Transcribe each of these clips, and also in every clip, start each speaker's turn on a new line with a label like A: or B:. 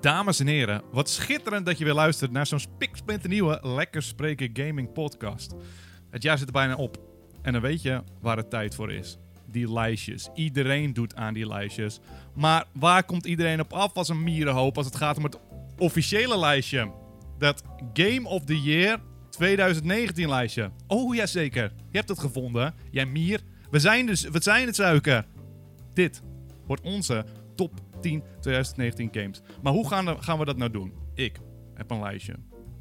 A: Dames en heren, wat schitterend dat je weer luistert naar zo'n nieuwe Lekker Spreken Gaming podcast. Het jaar zit er bijna op. En dan weet je waar het tijd voor is. Die lijstjes. Iedereen doet aan die lijstjes. Maar waar komt iedereen op af als een mierenhoop als het gaat om het officiële lijstje? Dat Game of the Year 2019 lijstje. Oh jazeker, je hebt het gevonden. Jij mier. We zijn dus, we zijn het suiker. Dit wordt onze top 10 2019 games. Maar hoe gaan, we- gaan we dat nou doen? Ik heb een lijstje.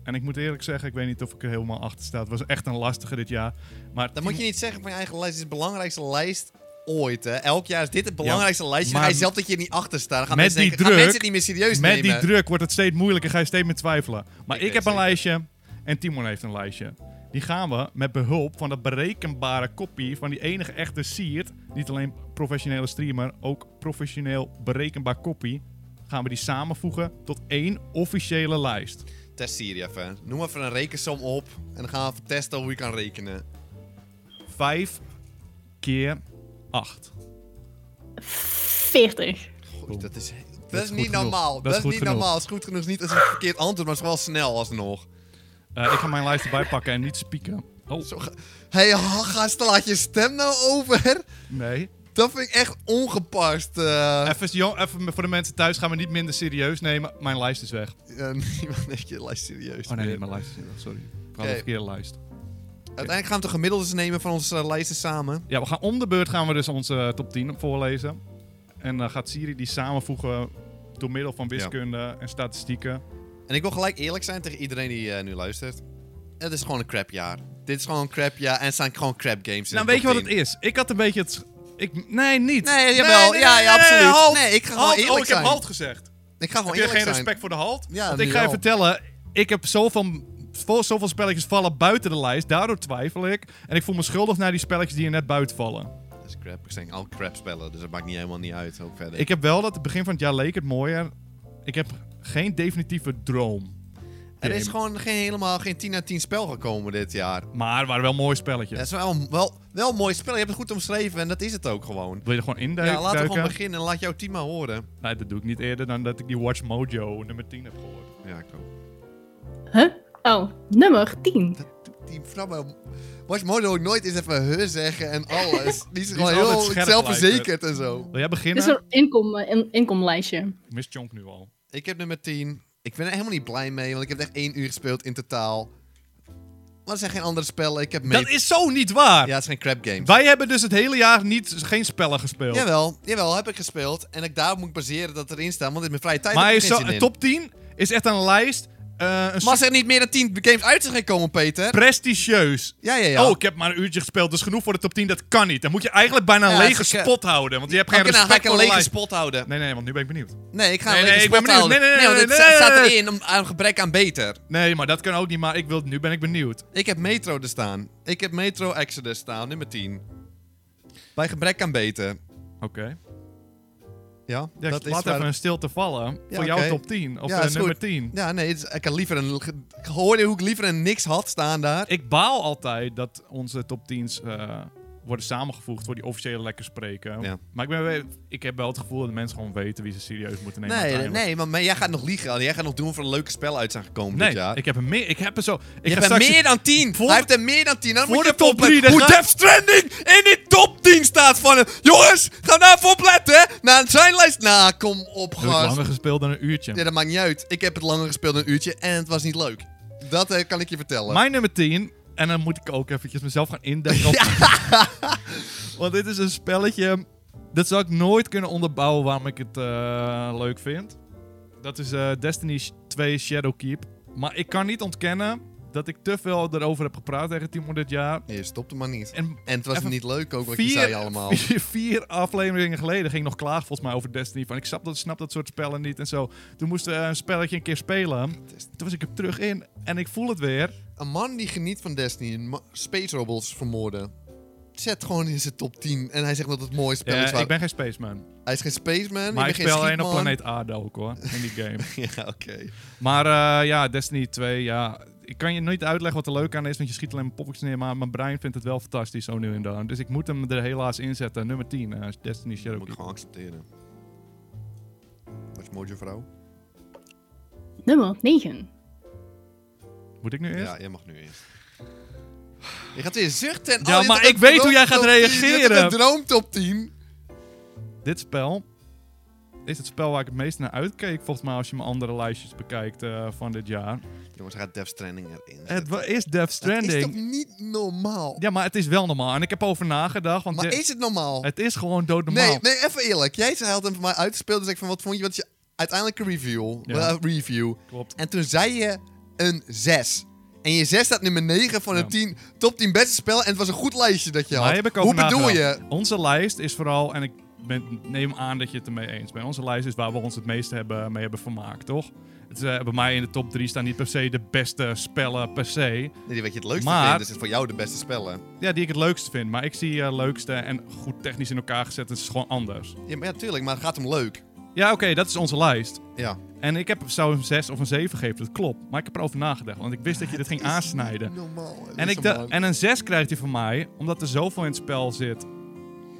A: En ik moet eerlijk zeggen, ik weet niet of ik er helemaal achter sta. Het was echt een lastige dit jaar. Maar
B: Dan moet je niet zeggen van je eigen lijst. Dit is de belangrijkste lijst ooit. Hè. Elk jaar is dit het belangrijkste lijstje.
A: maar-
B: Maar ga je zelf dat je er niet achter staat. Dan gaan
A: Met
B: mensen
A: die
B: denken, gaan
A: druk-
B: mensen het niet meer serieus
A: Met
B: nemen.
A: die druk wordt het steeds moeilijker, ga je steeds meer twijfelen. Maar
B: Ik
A: ik,
B: weet
A: heb een
B: zeker.
A: lijstje en Timon heeft een lijstje. Die gaan we met behulp van dat berekenbare kopie van die enige echte Siert, niet alleen professionele streamer, ook professioneel berekenbaar kopie, gaan we die samenvoegen tot één officiële lijst.
B: Test hier even. Noem even een rekensom op. En dan gaan we even testen hoe je kan rekenen.
A: Vijf keer acht.
C: 40.
B: Goed, dat is, dat
A: Dat
B: is
A: is
B: niet
A: goed genoeg.
B: normaal.
A: Dat
B: Dat,
A: is
B: is,
A: goed
B: niet
A: genoeg.
B: normaal. Het is goed genoeg is niet als een verkeerd antwoord, maar het is wel snel alsnog.
A: Eh, ik ga mijn lijst erbij pakken en niet spieken. Oh,
B: Zo ga- hey, ha- gast, laat je stem nou over.
A: nee.
B: Dat vind ik echt ongepast. eh.
A: Even, jong, even voor de mensen thuis gaan we niet minder serieus nemen. Mijn lijst is weg.
B: Ja, niemand heeft je lijst serieus.
A: Oh nee,
B: meer.
A: mijn lijst is weg. Sorry. Ik had
B: Oké.
A: de verkeerde lijst.
B: Uiteindelijk gaan we de gemiddeldes nemen van onze eh, lijsten samen.
A: Ja, we gaan om de beurt gaan we dus onze eh, top 10 voorlezen. En dan gaat Siri die samenvoegen door middel van wiskunde en statistieken.
B: En ik wil gelijk eerlijk zijn tegen iedereen die eh, nu luistert. Het is gewoon een crap jaar. Dit is gewoon een crap jaar en het zijn gewoon crap games. in
A: nou,
B: de
A: weet je
B: top
A: wat het
B: 10.
A: is? Ik had een beetje het... Ik, nee, niet.
B: Nee, jawel. ja, ja, absoluut. Nee, ik ga gewoon
A: halt.
B: eerlijk
A: oh, ik heb
B: zijn.
A: halt gezegd.
B: Ik ga gewoon
A: heb je
B: eerlijk
A: geen
B: zijn.
A: respect voor de halt?
B: Ja,
A: Want ik
B: nu
A: ga je
B: wel.
A: vertellen, ik heb zoveel, vol- zoveel spelletjes vallen buiten de lijst. Daardoor twijfel ik. En ik voel me schuldig naar die spelletjes die er net buiten vallen.
B: Dat is crap. Ik zeg al crap spellen, dus dat maakt niet helemaal niet uit. Ook verder.
A: Ik heb wel dat het begin van het jaar leek het mooier. Ik heb geen definitieve droom.
B: er is
A: game.
B: gewoon geen, helemaal geen 10 uit 10 spel gekomen dit jaar.
A: Maar het waren wel mooie spelletjes.
B: Het is wel, wel, wel een mooi spel. Je hebt het goed omschreven en dat is het ook gewoon.
A: Wil je er gewoon induiken?
B: Ja, laten we gewoon beginnen en laat jouw team maar horen.
A: Nee, dat doe ik niet eerder dan dat ik die Watch Mojo nummer 10 heb gehoord.
B: Ja, ik ook.
C: Huh? Oh, nummer 10.
B: Die vrouw bij Watch Mojo ook nooit eens even he zeggen en alles. Die is
A: is
B: gewoon
A: altijd
B: heel
A: scherp,
B: zelfverzekerd en zo.
A: Wil jij
C: Dit
A: beginnen?
C: is een inkom, eh, in- inkomlijstje.
A: Ik mis Chonk nu al.
B: Ik heb nummer 10. Ik ben er helemaal niet blij mee, want ik heb echt één uur gespeeld in totaal. Maar er zijn geen andere spellen. Ik heb mee...
A: Dat is zo niet waar!
B: Ja, het zijn crap games.
A: Wij hebben dus het hele jaar niet, geen spellen gespeeld.
B: Jawel, jawel, heb ik gespeeld. En ik daar moet baseren dat erin staan, want in mijn vrije tijd
A: maar
B: heb ik
A: is
B: geen
A: zo,
B: zin in.
A: top 10 is echt een lijst. eh, een
B: Maar
A: soort
B: als er niet meer dan 10 games uit zijn gekomen, Peter.
A: prestigieus.
B: Ja, ja, ja.
A: Oh, ik heb maar een uurtje gespeeld, dus genoeg voor de top 10. Dat kan niet. Dan moet je eigenlijk bijna een
B: Ja,
A: lege
B: dat is-
A: spot houden. Want je hebt geen
B: Oké, nou
A: respect
B: ga ik een
A: voor de
B: lege
A: lijst.
B: spot houden.
A: Nee, nee, want nu ben ik benieuwd.
B: Nee, ik ga
A: Nee,
B: een lege
A: nee, ik ben
B: spot
A: benieuwd.
B: houden.
A: Nee, nee, nee,
B: want
A: nee, nee,
B: het
A: nee,
B: staat
A: nee.
B: erin om, aan gebrek aan beter.
A: Nee, maar dat kan ook niet. Maar ik wil, nu ben ik benieuwd.
B: Ik heb Metro er staan. Ik heb Metro Exodus staan, nummer 10. Bij gebrek aan beter.
A: Oké.
B: Ja,
A: Ja,
B: dat
A: ik
B: is
A: laat
B: waar.
A: even een stilte vallen voor
B: Ja,
A: jouw
B: oké.
A: top 10. Of
B: Ja,
A: eh,
B: is goed.
A: nummer 10.
B: Ja, nee, het is- ik had liever een... ge- Ik hoorde hoe ik liever een niks had staan daar.
A: Ik baal altijd dat onze top 10's eh, worden samengevoegd voor die officiële lekker spreken.
B: Ja.
A: Maar ik, ben, wel- ik heb wel het gevoel dat mensen gewoon weten wie ze serieus moeten nemen.
B: nee, nee,
A: uiteindelijk.
B: maar, maar jij gaat nog liegen. Jij gaat nog doen voor een leuke spel uit zijn gekomen dit
A: Nee,
B: jaar.
A: ik heb hem meer. Ik heb er zo. Ik
B: je
A: ga
B: hebt er
A: straks-
B: meer dan 10.
A: Voor-
B: Hij heeft er meer dan 10. Dan
A: voor
B: moet
A: de
B: je even
A: top drie, dus
B: opletten
A: dan
B: Hoe
A: ga-
B: Death Stranding in die top 10 staat van hem. Jongens, ga nou even opletten. hè. Na zijn lijst... Nou, kom op,
A: Heb ik
B: gast.
A: langer gespeeld dan een uurtje.
B: Ja, dat maakt niet uit. Ik heb het langer gespeeld dan een uurtje en het was niet leuk. Dat eh, kan ik je vertellen.
A: Mijn nummer 10. En dan moet ik ook eventjes mezelf gaan indekken. op- Want dit is een spelletje. Dat zou ik nooit kunnen onderbouwen waarom ik het eh, leuk vind. Dat is eh, Destiny 2 Shadowkeep. Maar ik kan niet ontkennen dat ik te veel erover heb gepraat tegen Timo dit jaar.
B: Nee, je stopte maar niet.
A: En
B: En het was
A: Even
B: niet leuk ook wat je zei
A: vier,
B: allemaal.
A: vier, vier afleveringen geleden ging ik nog klaag volgens mij over Destiny. Van ik snap dat, snap dat soort spellen niet en zo. Toen moesten we een spelletje een keer spelen. Toen was ik er terug in en ik voel het weer.
B: Een man die geniet van Destiny, een ma- Space Robots vermoorden. Zet gewoon in zijn top 10 en hij zegt dat het mooie spel
A: Eh,
B: is. waar-
A: ik ben geen spaceman.
B: Hij is geen spaceman,
A: Maar
B: ik
A: ik
B: ben
A: speel
B: geen
A: alleen op
B: schietman.
A: planeet aarde ook hoor, in die game.
B: ja, oké.
A: maar eh, ja, Destiny 2, ja. Ik kan je nooit uitleggen wat er leuk aan is, want je schiet alleen maar poppetjes neer. Maar mijn brein vindt het wel fantastisch zo nu en dan. Dus ik moet hem er helaas inzetten. Nummer 10, eh, Destiny
B: Dat
A: Shadow
B: moet ik
A: Keep.
B: gewoon accepteren. Wat is mooi, vrouw?
C: Nummer
B: Oh,
C: 9.
A: Moet ik nu eerst?
B: Ja, jij mag nu eerst. Je gaat weer zuchten. en-
A: Ja,
B: je
A: maar
B: hebt
A: ik
B: een
A: weet hoe jij
B: droomtop
A: gaat
B: 10, je hebt
A: reageren.
B: Een droomtop 10.
A: Dit spel is het spel waar ik het meest naar uitkeek, volgens mij, als je mijn andere lijstjes bekijkt eh, van dit jaar.
B: Jongens, gaat Death Stranding erin.
A: Het
B: zetten.
A: wa- is Death
B: Dat is toch
A: Stranding.
B: niet normaal?
A: Ja, maar het is wel normaal. En ik heb over nagedacht, want
B: maar
A: dit-
B: is het normaal?
A: het is gewoon doodnormaal.
B: nee, nee, even eerlijk. Jij zei- had hem voor mij uitgespeeld. Dus ik van, wat vond je? Wat je uiteindelijk een review.
A: Ja.
B: eh, review.
A: Klopt.
B: En toen zei je een 6. En je 6 staat nummer 9 van
A: Ja.
B: de 10 top 10 beste spellen. En het was een goed lijstje dat je had.
A: Daar heb ik over
B: Hoe bedoel
A: nagedacht.
B: je?
A: Onze lijst is vooral, en ik ben- neem aan dat je het ermee eens bent. Onze lijst is waar we ons het meeste hebben, mee hebben vermaakt, toch? Het, is, eh, bij mij in de top 3 staan niet per se de beste spellen per se.
B: Nee, wat je het leukste
A: Maar-
B: vindt, is het voor jou de beste spellen.
A: Ja, die ik het leukste vind. Maar ik zie eh, leukste en goed technisch in elkaar gezet. Het is gewoon anders.
B: Ja, maar ja, tuurlijk, maar het gaat hem leuk.
A: Ja, oké, dat is onze lijst.
B: Ja.
A: En ik heb, zou een 6 of een 7 geven, dat klopt. Maar ik heb erover nagedacht, want ik wist dat je dit ging aansnijden.
B: Normaal.
A: En, ik da- en een 6 krijgt hij van mij, omdat er zoveel in het spel zit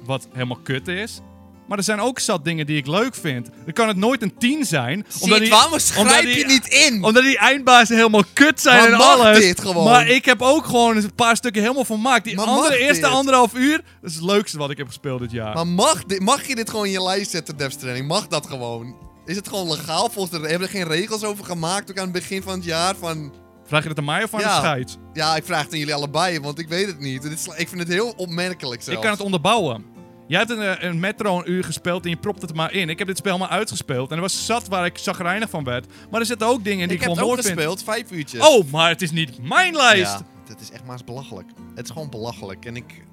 A: wat helemaal kut is. Maar er zijn ook zat dingen die ik leuk vind. Dan kan het nooit een 10 zijn. die- omdat die-
B: in?
A: Omdat die eindbazen helemaal kut zijn
B: Maar
A: en
B: mag
A: alles.
B: dit gewoon?
A: Maar ik heb ook gewoon eens een paar stukken helemaal vermaakt. Die
B: Maar
A: andere
B: mag
A: eerste
B: dit?
A: anderhalf uur, dat is het leukste wat ik heb gespeeld dit jaar.
B: Maar mag, dit, mag je dit gewoon in je lijst zetten, Death Stranding? Mag dat gewoon? Is het gewoon legaal? Volgens de, hebben er geen regels over gemaakt, ook aan het begin van het jaar? Van,
A: Vraag je dat aan mij of aan
B: Ja.
A: de scheids?
B: ja, ik vraag het aan jullie allebei, want ik weet het niet. Dit is, ik vind het heel opmerkelijk zelfs.
A: Ik kan het onderbouwen. Jij hebt een, eh, een metro een uur gespeeld en je propt het maar in. Ik heb dit spel maar uitgespeeld en er was zat waar ik zagrijnig van werd. Maar er zitten ook dingen in die
B: Ik
A: ik,
B: heb het
A: gewoon
B: ook
A: mooi vind.
B: gespeeld, vijf uurtjes.
A: Oh, maar het is niet mijn lijst.
B: Ja, dat is echt maar eens belachelijk. Het is gewoon belachelijk. En ik...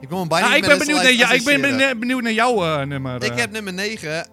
B: Ik wil hem bijna
A: Ah,
B: niet
A: ik
B: met
A: ben
B: deze
A: benieuwd naar,
B: lijst
A: ja, ik ben
B: associëren.
A: bene- benieuwd naar jouw eh, nummer.
B: Ik
A: eh.
B: heb nummer 9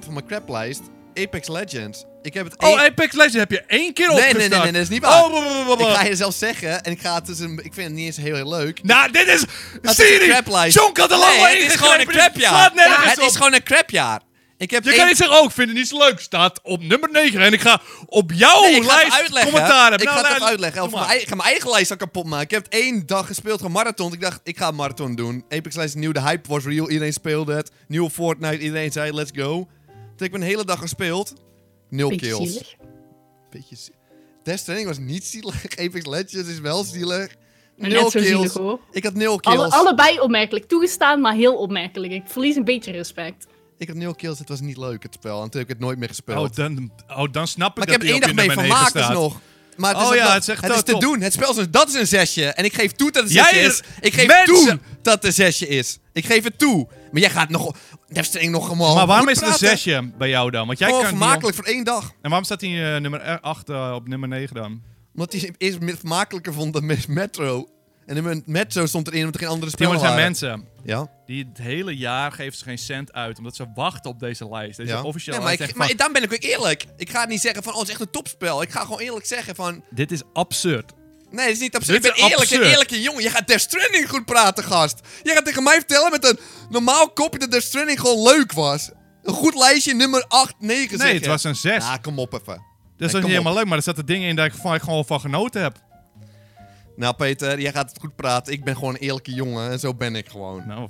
B: van mijn craplijst Apex Legends. Ik heb het
A: Oh,
B: één-
A: Apex Legends heb je één keer
B: nee, nee,
A: opgestart.
B: nee, nee, dat is niet waar.
A: Oh, wa- wa- wa- wa-
B: Ik ga je zelf zeggen en ik ga het dus een, ik vind het niet eens heel, heel leuk.
A: Nou, dit is...
B: is een
A: Siri,
B: craplijst.
A: John kan er lang
B: Nee, het is gewoon een crapjaar.
A: Slaat nergens
B: het
A: op.
B: is gewoon een crapjaar. Ik heb
A: Je
B: één-
A: kan niet zeggen, oh, ik vind het niet zo leuk. Staat op nummer 9 en ik ga op jouw
B: Nee, ik ga het
A: oh, lijst
B: uitleggen.
A: commentaar hebben.
B: Ik
A: Nou,
B: ga het
A: nou,
B: even uitleggen. Of
A: doe maar.
B: mijn ei- ik ga mijn eigen lijst al kapot maken. Ik heb het één dag gespeeld van marathon. Ik dacht, ik ga een marathon doen. Apex Legends nieuw, de hype was real. Iedereen speelde het. Nieuwe Fortnite, iedereen zei let's go. Toen heb ik een hele dag gespeeld. Nul
C: Beetje
B: kills.
C: zielig.
B: Beetje zie- Death Stranding was niet zielig. Apex Legends is wel zielig.
C: Maar
B: Nul
C: net zo
B: kills.
C: zielig, hoor.
B: Ik had nul kills.
C: Alle, allebei opmerkelijk toegestaan, maar heel opmerkelijk. Ik verlies een beetje respect.
B: Ik had nul kills. Het was niet leuk, het spel. En toen heb ik het nooit meer gespeeld.
A: Oh, dan, oh, dan snap ik
B: maar
A: dat
B: ik heb er één dag
A: die
B: mee
A: op je nummer 9
B: vermaakt dus
A: staat.
B: nog. Maar het is,
A: Oh
B: ook
A: ja,
B: nog-
A: het is echt, eh,
B: is te
A: top.
B: doen. Het spel is een- dat is een zesje. En ik geef toe dat het een
A: Jij
B: zesje
A: er-
B: is. Ik geef
A: mensen-
B: toe dat het een zesje is. Ik geef het toe. Maar jij gaat nog... Death Stranding nog gewoon
A: Maar waarom
B: goed
A: is het een
B: praten.
A: zesje bij jou dan? Want jij
B: Gewoon
A: kan die
B: vermakelijk voor één dag.
A: on- En waarom staat die eh, nummer 8 op nummer 9 dan?
B: Omdat hij eerst me- vermakelijker vond dan Met- Metro. En in mijn Metro stond erin omdat er geen andere
A: Die
B: spellen
A: maar zijn
B: waren.
A: mensen.
B: Ja.
A: Die het hele jaar geven ze geen cent uit. Omdat ze wachten op deze lijst. Deze
B: ja.
A: officiële
B: Nee, maar,
A: lijst.
B: ik,
A: zegt van,
B: maar dan ben ik ook eerlijk. Ik ga niet zeggen van, oh, het is echt een topspel. Ik ga gewoon eerlijk zeggen van,
A: Dit is absurd.
B: Nee, dat is niet absurd. Ik
A: Dit
B: ben
A: is
B: eerlijk,
A: absurd.
B: een eerlijke jongen. Je gaat Death Stranding goed praten, gast. Je gaat tegen mij vertellen met een normaal kopje dat Death Stranding gewoon leuk was. Een goed lijstje, nummer 8, 9
A: Nee, het was een 6.
B: Ja, Nou, kom op even.
A: Dus
B: Nee,
A: dat is
B: kom
A: niet helemaal leuk, maar er zaten dingen in dat ik, van, ik gewoon van genoten heb.
B: op. Nou, Peter, jij gaat het goed praten. Ik ben gewoon een eerlijke jongen en zo ben ik gewoon.
A: Nou,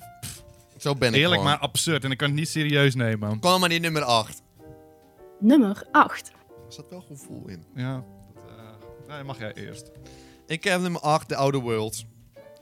B: Zo ben ik
A: eerlijk
B: gewoon.
A: maar absurd en ik kan het niet serieus nemen.
B: Kom maar die nummer 8.
C: Nummer 8.
B: Er zat wel gevoel in.
A: Ja, dat, eh, nee, mag jij eerst.
B: Ik heb nummer 8, The Outer Worlds.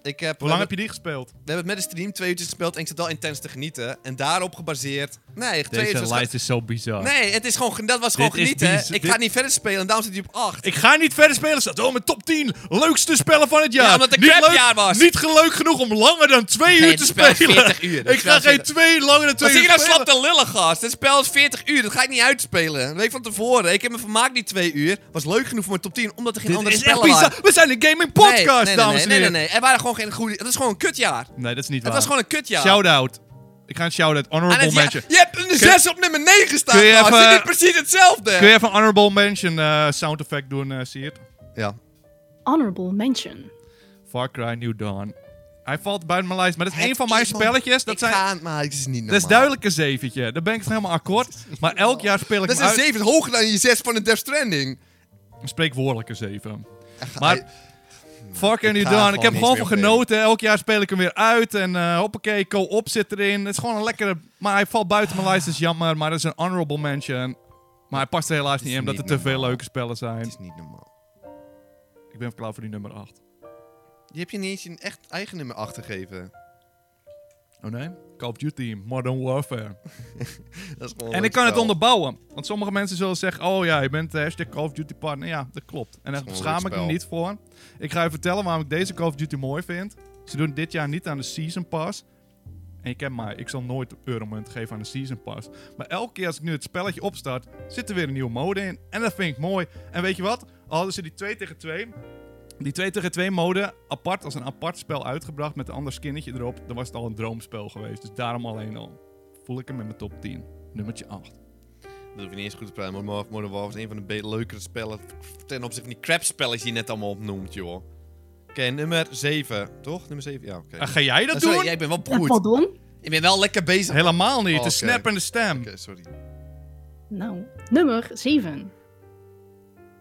B: Ik heb,
A: Hoe lang heb je die gespeeld?
B: We hebben het met de stream twee uurtjes gespeeld en ik zat wel intens te genieten. En daarop gebaseerd... Nee, twee uurtjes was-
A: is zo bizar.
B: Nee, het is gewoon, dat was gewoon
A: Dit is
B: genieten. hè.
A: bizar.
B: Ik
A: Dit-
B: ga niet verder spelen en daarom zit hij op 8.
A: Ik ga niet verder spelen. Staat wel mijn top 10 leukste spellen van het jaar.
B: Ja, omdat het een
A: Niet
B: crapjaar
A: leuk-
B: was.
A: Niet ge- leuk genoeg om langer dan twee
B: Nee,
A: uur te
B: het spel
A: spelen.
B: is 40 uur. Het
A: Ik ga
B: spel is
A: geen twee langer dan
B: Wat
A: twee
B: zie
A: uur
B: je nou
A: spelen.
B: slap te lullen, gast? Dit spel is 40 uur, dat ga ik niet uitspelen. Een week van tevoren. Ik heb me vermaakt die twee uur. Was leuk genoeg voor mijn top 10, omdat er geen
A: Dit
B: andere
A: is echt
B: spellen
A: bizar.
B: waren.
A: We zijn een gaming
B: Nee,
A: podcast,
B: nee, nee,
A: dames
B: nee,
A: en
B: nee, nee,
A: heren.
B: nee. Er waren gewoon geen goede... Het is gewoon een kutjaar.
A: Nee, dat is niet
B: Het
A: waar.
B: was gewoon een kutjaar.
A: Shout-out. Ik ga een shout-out.
B: En
A: Honorable
B: het jaar-
A: mention.
B: je hebt een 6 op nummer 9 staan,
A: kun je
B: gast.
A: even-
B: Dit is precies hetzelfde.
A: Kun je even een honorable mention eh, sound effect doen, eh zie je het?
B: Ja.
C: Honorable mention.
A: Far Cry New Dawn. Hij valt buiten mijn lijst, maar dat is
B: Het
A: één van mijn
B: is nog-
A: spelletjes. Dat,
B: Ik
A: zijn,
B: ga, maar het is niet normaal.
A: dat is duidelijk een zeventje. Daar ben ik het helemaal akkoord. Maar elk jaar speel ik
B: Dat is
A: hem
B: een
A: uit.
B: 7, hoger dan je 6 van een Death Stranding.
A: Een spreekwoordelijke zeven.
B: Echt, hij-
A: Maar Far Cry
B: ik
A: New
B: ga
A: Dawn,
B: gewoon
A: ik heb
B: niks
A: gewoon
B: meer
A: van
B: opnemen.
A: genoten. Elk jaar speel ik hem weer uit. En eh hoppakee, co-op zit erin. Het is gewoon een lekkere... Maar hij valt buiten mijn lijst, dat is jammer. Maar dat is een honorable mention. Maar hij past er helaas niet in,
B: niet
A: omdat er te veel
B: normaal.
A: leuke spellen zijn.
B: Het is niet normaal.
A: Ik ben klaar voor die nummer 8.
B: Je hebt je niet eens een echt eigen nummer achtergegeven.
A: Oh nee? Call of Duty, Modern Warfare.
B: Oh, Dat is gewoon
A: en
B: een
A: ik kan het
B: spel.
A: onderbouwen. Want sommige mensen zullen zeggen, oh ja, je bent de hashtag Call of Duty partner. Ja, dat klopt. En daar
B: gewoon een
A: schaam
B: leuk
A: ik me
B: spel.
A: niet voor. Ik ga je vertellen waarom ik deze Call of Duty mooi vind. Ze doen dit jaar niet aan de Season Pass. En je kent mij, ik zal nooit euromunt geven aan de Season Pass. Maar elke keer als ik nu het spelletje opstart, zit er weer een nieuwe mode in. En dat vind ik mooi. En weet je wat? Al hadden ze die 2 tegen 2, die 2 tegen 2 mode apart als een apart spel uitgebracht met een ander skinnetje erop, dan was het al een droomspel geweest. Dus daarom alleen al voel ik hem in mijn top 10. Nummertje 8.
B: Dat hoef je niet eens goed te praten. Modern Warfare- Modern Warfare is een van de be- leukere spellen ten opzichte van die crap spellen die je net allemaal opnoemt, joh. Oké, nummer 7. Toch? Nummer 7? Ja, oké.
A: Ah, ga jij
B: Ah,
A: dat
B: sorry,
A: doen?
B: jij bent wel
C: Dat
B: goed.
C: Eh, pardon?
B: Ik ben wel lekker bezig. Oké,
A: Helemaal niet.
B: Oké.
A: De snap en de stem.
B: sorry.
C: Nou, nummer 7.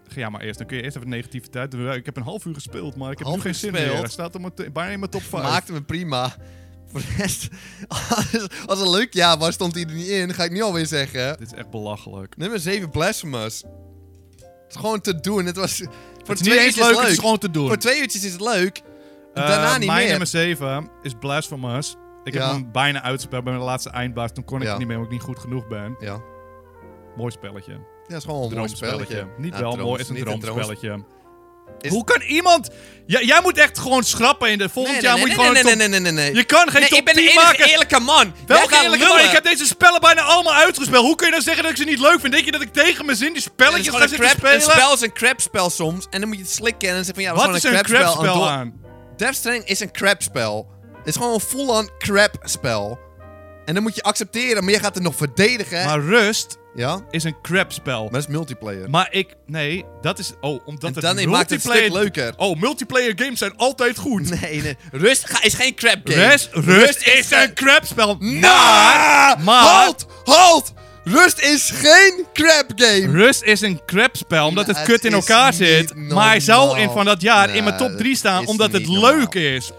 A: Ga jij maar eerst. Dan kun je eerst even negativiteit. doen. Ik heb een half uur gespeeld, maar ik heb
B: Half
A: nu geen
B: uur
A: zin
B: gespeeld?
A: meer. Hij staat op mijn t- bijna in mijn top 5.
B: Maakte me prima. Voor de rest, als- als een leuk jaar was, stond hij er niet in. Ga ik nu alweer zeggen.
A: Dit is echt belachelijk.
B: Nummer 7, Blasphemous. Het is gewoon te doen. Het was... Voor
A: Het is niet
B: twee
A: eens
B: uurtjes leuk.
A: leuk, het is gewoon te doen.
B: Voor twee uurtjes is het leuk.
A: Eh,
B: daarna niet
A: mijn
B: meer.
A: nummer 7 is Blasphemous. Ik
B: Ja.
A: heb hem bijna uitgespeeld bij mijn laatste eindbaas. Toen kon ik
B: Ja.
A: het niet meer, omdat ik niet goed genoeg ben.
B: Ja.
A: Mooi spelletje.
B: Ja, is gewoon een mooi spelletje.
A: Niet
B: Ja,
A: wel
B: drooms-
A: mooi, is een
B: niet
A: droomspelletje.
B: Is-
A: Hoe kan iemand... Ja, jij moet echt gewoon schrappen in de volgend jaar moet je gewoon... een
B: nee,
A: top-
B: nee, nee, nee, nee.
A: Je kan geen
B: nee,
A: top
B: ik ben
A: 10
B: een
A: maken.
B: eerlijke man.
A: Welke eerlijke man? Ik heb deze spellen bijna allemaal uitgespeeld. Hoe kun je nou zeggen dat ik ze niet leuk vind? Denk je dat ik tegen mijn zin die spelletjes ga
B: een,
A: zitten
B: crap,
A: spelen?
B: een spel is een crap spel soms. En dan moet je het slikken en dan zeg van ja, dat
A: Wat
B: was
A: is
B: gewoon
A: een
B: crap spel.
A: crapspel
B: door-
A: aan?
B: Death Stranding is een crap spel. Het is gewoon een full-on crap spel. En dan moet je accepteren, maar je gaat het nog verdedigen.
A: Maar Rust
B: ja, maar
A: is een crapspel.
B: dat is multiplayer.
A: Maar ik... Nee, dat is... Oh, omdat
B: En
A: het
B: dan
A: multiplayer...
B: maakt het een stuk leuker.
A: Oh, multiplayer games zijn altijd goed.
B: Nee, nee. Rust ga- is geen crap game.
A: Rust, Rust is een crapspel.
B: Maar,
A: maar-
B: Halt! Halt! Rust is geen crap game!
A: Rust is een crapspel, omdat het
B: Ja,
A: kut
B: het
A: in
B: is
A: elkaar
B: niet
A: zit. Maar hij
B: normaal.
A: zou in van dat jaar in mijn
B: Nee,
A: top 3 staan,
B: is
A: omdat het
B: niet normaal.
A: leuk is.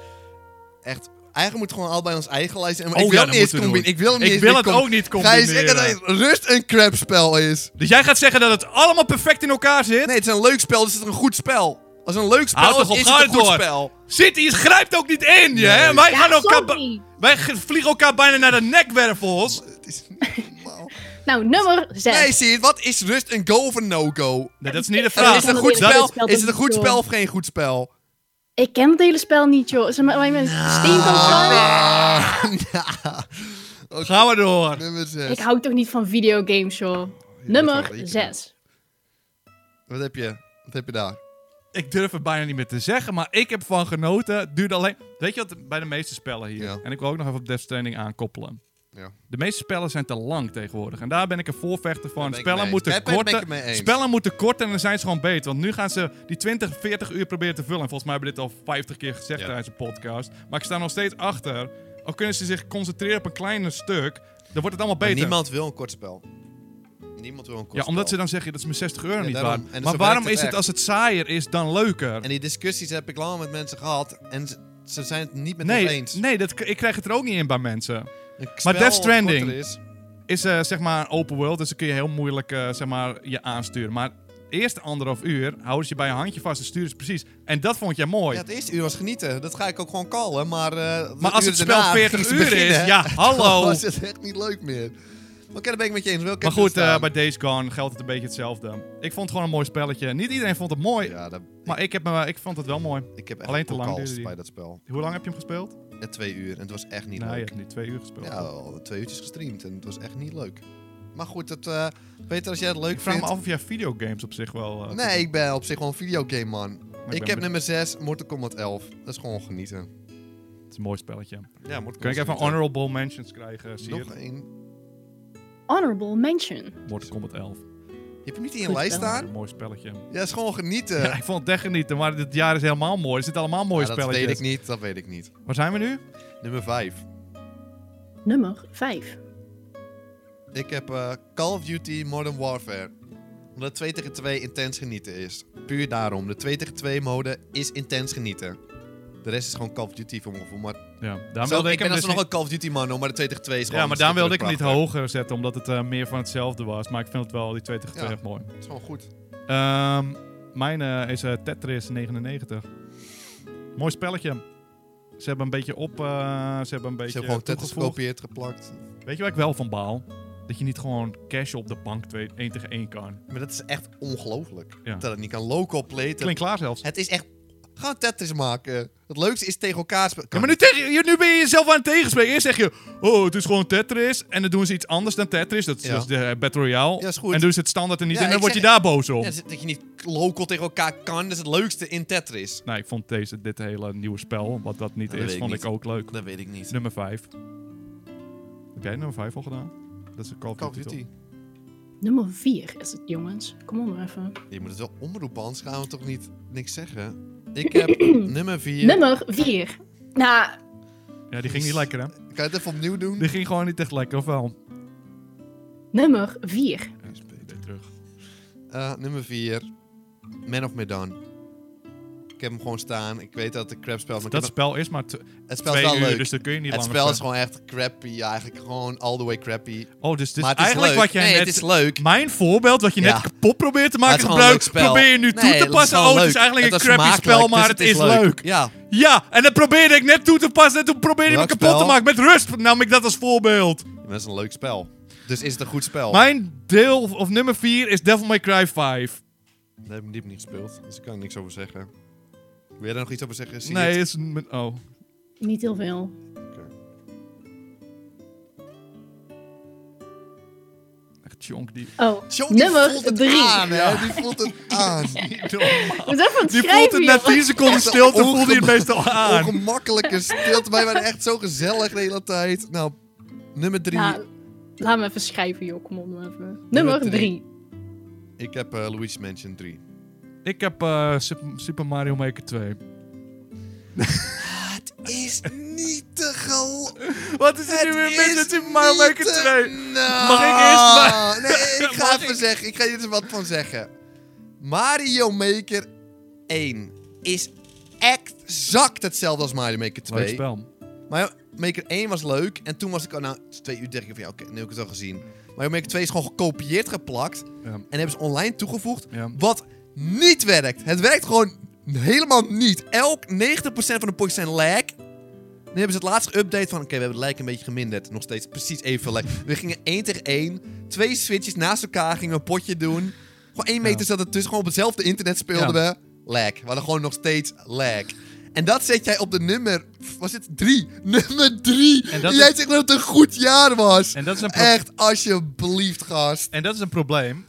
B: Echt, eigenlijk moet gewoon al bij ons eigen lijst. En
A: Oh
B: ik
A: ja,
B: wil
A: dat
B: niet eens
A: moeten we doen.
B: combineren. Ik wil, hem niet
A: Ik
B: eens
A: wil
B: meer
A: het
B: combi-
A: ook niet
B: Ga je zeggen
A: combineren.
B: dat Rust een crap spel is?
A: Dus jij gaat zeggen dat het allemaal perfect in elkaar zit?
B: Nee, het is een leuk spel, dus het is een goed spel. Als een leuk
A: Houd
B: spel is,
A: toch op,
B: is
A: ga
B: het een goed
A: door.
B: spel.
A: City is- grijpt ook niet in, je, hè?
B: Nee.
A: Wij,
C: Ja,
A: gaan elkaar
C: sorry.
A: ba- wij ge- vliegen elkaar bijna naar de nekwervels.
B: Het is niet normaal.
C: Nou, nummer 6.
B: Nee, zie je, wat is Rust een go of een no-go?
A: Nee, dat is niet de
C: Ja,
A: vraag.
B: Is het een
C: dat
B: goed
C: is- dat is-
B: spel?
C: dat
B: Is het een
C: is-
B: goed spel of geen goed spel?
C: Ik ken het hele spel niet, joh. Ze met mij met
B: Nou,
C: steenkool
B: Ah, nou,
A: Gaan we door.
B: nummer
C: Ik
B: 6.
C: hou toch niet van videogames, joh.
B: dat
C: nummer
B: zal ik
C: 6.
B: Wat heb je? Wat heb je daar?
A: Ik durf het bijna niet meer te zeggen, maar ik heb van genoten. Het duurde alleen... Weet je wat bij de meeste spellen hier...
B: Ja.
A: En ik wil ook nog even op Death Stranding aankoppelen.
B: Ja.
A: De meeste spellen zijn te lang tegenwoordig. En daar ben ik een voorvechter
B: Daar
A: van.
B: ben ik
A: Spellen
B: mee
A: moeten,
B: eens. Daar ben ik
A: korten,
B: het mee eens.
A: spellen moeten korten en dan zijn ze gewoon beter. Want nu gaan ze die 20, 40 uur proberen te vullen. En volgens mij hebben we dit al 50 keer gezegd
B: Ja.
A: tijdens de podcast. Maar ik sta nog steeds achter. Al kunnen ze zich concentreren op een kleiner stuk, dan wordt het allemaal
B: Maar
A: beter.
B: Niemand wil een kort spel. Niemand wil een kort
A: ja, omdat ze
B: spel.
A: dan zeggen dat is mijn 60 euro
B: Ja,
A: niet
B: daarom. En
A: waard.
B: zo
A: Maar
B: werkt
A: waarom
B: het
A: is het
B: echt.
A: als het saaier is dan leuker?
B: En die discussies heb ik lang met mensen gehad. En ze, ze zijn het niet met ons
A: Nee,
B: eens.
A: nee dat, ik krijg het er ook niet in bij mensen.
B: Een spel
A: Death
B: wat
A: Stranding.
B: korter is-
A: is eh, zeg maar open world, dus dan kun je heel moeilijk eh, zeg maar, je aansturen. Maar het eerste anderhalf uur houden ze je bij een handje vast en sturen ze precies. En dat vond jij mooi.
B: Ja, het eerste uur was genieten. Dat ga ik ook gewoon callen. Maar, eh,
A: maar als
B: uur
A: het spel
B: daarna
A: 40
B: gingen
A: uur
B: ze beginnen,
A: is, ja, hallo.
B: was het echt niet leuk meer. Maar oké, daar ben ik met je eens. Wil ik
A: Maar
B: even
A: goed, eh,
B: staan?
A: bij Days Gone geldt het een beetje hetzelfde. Ik vond het gewoon een mooi spelletje. Niet iedereen vond het mooi,
B: Ja, dat-
A: maar ik, heb, me- eh, ik vond het wel mooi.
B: ik heb echt
A: alleen te lang
B: gekald
A: duurde die.
B: bij dat spel.
A: Hoe lang heb je hem gespeeld?
B: Net twee uur. En het was echt niet
A: nou, je
B: leuk.
A: hebt nu twee uur gespeeld.
B: Ja, al twee uurtjes gestreamd. En het was echt niet leuk. Maar goed, het, eh, Peter, als jij het leuk
A: ik vraag me
B: vindt...
A: af of jij videogames op zich wel... eh,
B: Nee, ik ben op zich wel een videogame man.
A: ben
B: Ik, heb
A: benieuwd.
B: nummer 6, Mortal Kombat 11. Dat is gewoon genieten.
A: Het is een mooi spelletje.
B: Ja, Mortal
A: Kun ik even honorable mentions krijgen? Zie je?
B: Nog één.
C: Honorable mention.
A: Mortal Kombat 11.
B: Je hebt hem niet in je
C: Goed
B: lijst
C: spel.
B: staan?
A: Een mooi spelletje.
B: Ja, is gewoon genieten.
A: Ja, ik vond het echt genieten, maar dit jaar is helemaal mooi. Er zitten allemaal mooie
B: Ja, dat
A: spelletjes.
B: weet ik niet, dat weet ik niet.
A: Waar zijn we nu?
B: Nummer 5.
C: Nummer 5.
B: Ik heb eh, Call of Duty Modern Warfare. Omdat 2 tegen 2 intens genieten is. Puur daarom. De 2 tegen 2 mode is intens genieten. De rest is gewoon Call of Duty voor mijn gevoel. Maar
A: Ja, daarom
B: Zo,
A: wilde
B: ik,
A: ik,
B: ben
A: hem
B: als
A: dus
B: nog
A: niet-
B: een Call of Duty man, maar de 2 tegen 2 is gewoon...
A: Ja, maar daarom wilde ik hem niet
B: prachtig.
A: hoger zetten, omdat het eh, meer van hetzelfde was. Maar ik vind het wel, die 2 tegen 2
B: Ja.
A: echt mooi.
B: Het is gewoon goed.
A: Ehm, mijn eh, is eh, Tetris 99. Mooi spelletje. Ze hebben een beetje op... eh, ze hebben een beetje
B: Ze hebben gewoon Tetris
A: toegevoegd.
B: gekopieerd, geplakt.
A: Weet je waar ik wel van baal? Dat je niet gewoon cash op de bank 1 tegen 1 kan.
B: Maar dat is echt ongelooflijk.
A: Ja.
B: Dat het niet kan. Local play.
A: Klinkt klaar zelfs.
B: Het is echt... Ga Tetris maken. Het leukste is tegen elkaar spelen.
A: Ja, maar nu, tegen, je- nu ben je jezelf aan het tegenspreken. Eerst zeg je, oh, het is gewoon Tetris. En dan doen ze iets anders dan Tetris. Dat is,
B: Ja.
A: dat is de eh, Battle Royale.
B: Ja, is goed.
A: En doen ze het standaard er niet
B: Ja,
A: in. En dan
B: ik
A: word je
B: zeg-
A: daar boos om.
B: Ja, dus dat is- dat je niet local tegen elkaar kan, dat is het leukste in Tetris.
A: Nou, ik vond deze, dit hele nieuwe spel, wat dat niet
B: Dat
A: is,
B: weet ik
A: vond
B: niet.
A: ik ook leuk.
B: Dat weet ik niet.
A: Nummer 5. Heb jij nummer 5 al gedaan? Dat is een Call of
B: Call of
A: Duty.
B: Duty.
C: Nummer 4 is het, jongens. Kom onder even.
B: Je moet het wel omroepen, anders gaan we toch niet niks zeggen. Ik heb nummer 4.
C: Nummer 4. Nou,
A: toch? Ja, die ging niet lekker, hè?
B: Kan je het even opnieuw doen?
A: Die ging gewoon niet echt lekker, of wel?
C: nummer 4.
B: Ja, is beter.
A: Nee, terug.
B: Eh, nummer 4. Man of Medan. Ik heb hem gewoon staan. Ik weet dat het een crap spel is, maar ik
A: Dat
B: heb
A: spel is maar tw-
B: hem- het spel is
A: twee
B: wel
A: uur,
B: leuk.
A: dus dat kun je niet
B: het
A: langer
B: spel is
A: spelen.
B: gewoon echt crappy eigenlijk. Gewoon all the way crappy.
A: Oh, dus, dus
B: maar het is
A: eigenlijk
B: leuk.
A: wat jij
B: nee,
A: net...
B: het is leuk.
A: Mijn voorbeeld, wat je
B: Ja.
A: net kapot probeert te
B: Maar
A: maken,
B: het is gewoon een leuk
A: gebruik,
B: spel.
A: probeer je nu
B: Nee,
A: toe
B: dat
A: te
B: is
A: passen.
B: gewoon
A: oh, het is
B: leuk.
A: eigenlijk
B: Het
A: een
B: was
A: crappy
B: smakelijk,
A: spel, maar
B: dus
A: het is leuk.
B: Ja,
A: Ja, en dat probeerde ik net toe te passen en toen probeerde ik hem
B: Welk
A: kapot te
B: spel?
A: maken. Met rust nam ik dat als voorbeeld.
B: maar dat is een leuk spel. Dus is het een goed spel?
A: Mijn deel, of, of nummer 4, is Devil May Cry 5.
B: Dat heb ik diep niet gespeeld, dus ik kan er niks over zeggen. Wil je daar nog iets over zeggen? Zie je
A: nee,
B: het?
A: is... een- Oh.
C: Niet heel veel.
A: Echt chonk die.
C: Oh,
B: Zo, die
C: nummer
B: voelt het
C: 3.
B: aan, hè? Die voelt het aan.
C: Moet even het
A: Die
C: schrijven,
A: voelt het na
C: jongen.
A: 10 seconden stilte, voelde hij het meestal aan.
B: Ongemakkelijke stilte. Wij waren echt zo gezellig de hele tijd. Nou, nummer drie.
C: Nou, laat me even schrijven, joh. Kom onder even. Nummer
B: drie.
C: 3.
B: Ik heb eh Luigi's Mansion 3.
A: Ik heb eh, Sup- Super Mario Maker 2.
B: Is niet te geloven.
A: Wat is er nu weer mis met Super Mario Maker 2? Mag ik eerst maar-
B: maar... nou. Nee, ik ga
A: Mag ik-
B: even zeggen. Ik ga hier dus wat van zeggen. Mario Maker 1 is exact hetzelfde als Mario Maker 2.
A: Leuk spel.
B: Mario Maker 1 was leuk. En toen was ik al na twee uur denk ik van ja, oké, nu heb ik het al gezien. Mario Maker 2 is gewoon gekopieerd, geplakt.
A: Ja.
B: En hebben ze online toegevoegd.
A: Ja.
B: Wat niet werkt. Het werkt gewoon helemaal niet. Elk 90% van de potjes zijn lag. Nu hebben ze het laatste update van... Oké, we hebben het lag een beetje geminderd. Nog steeds precies evenveel lag. We gingen 1 tegen 1. Twee switches naast elkaar gingen we een potje doen. Gewoon 1 meter
A: Ja.
B: zat ertussen. Gewoon op hetzelfde internet speelden we. Lag. We hadden gewoon nog steeds lag. En dat zet jij op de nummer... Was het 3? Nummer 3!
A: En
B: En
A: dat
B: jij
A: is-
B: zegt dat het een goed jaar was.
A: En dat is een pro-
B: Echt, alsjeblieft, gast.
A: En dat is een probleem.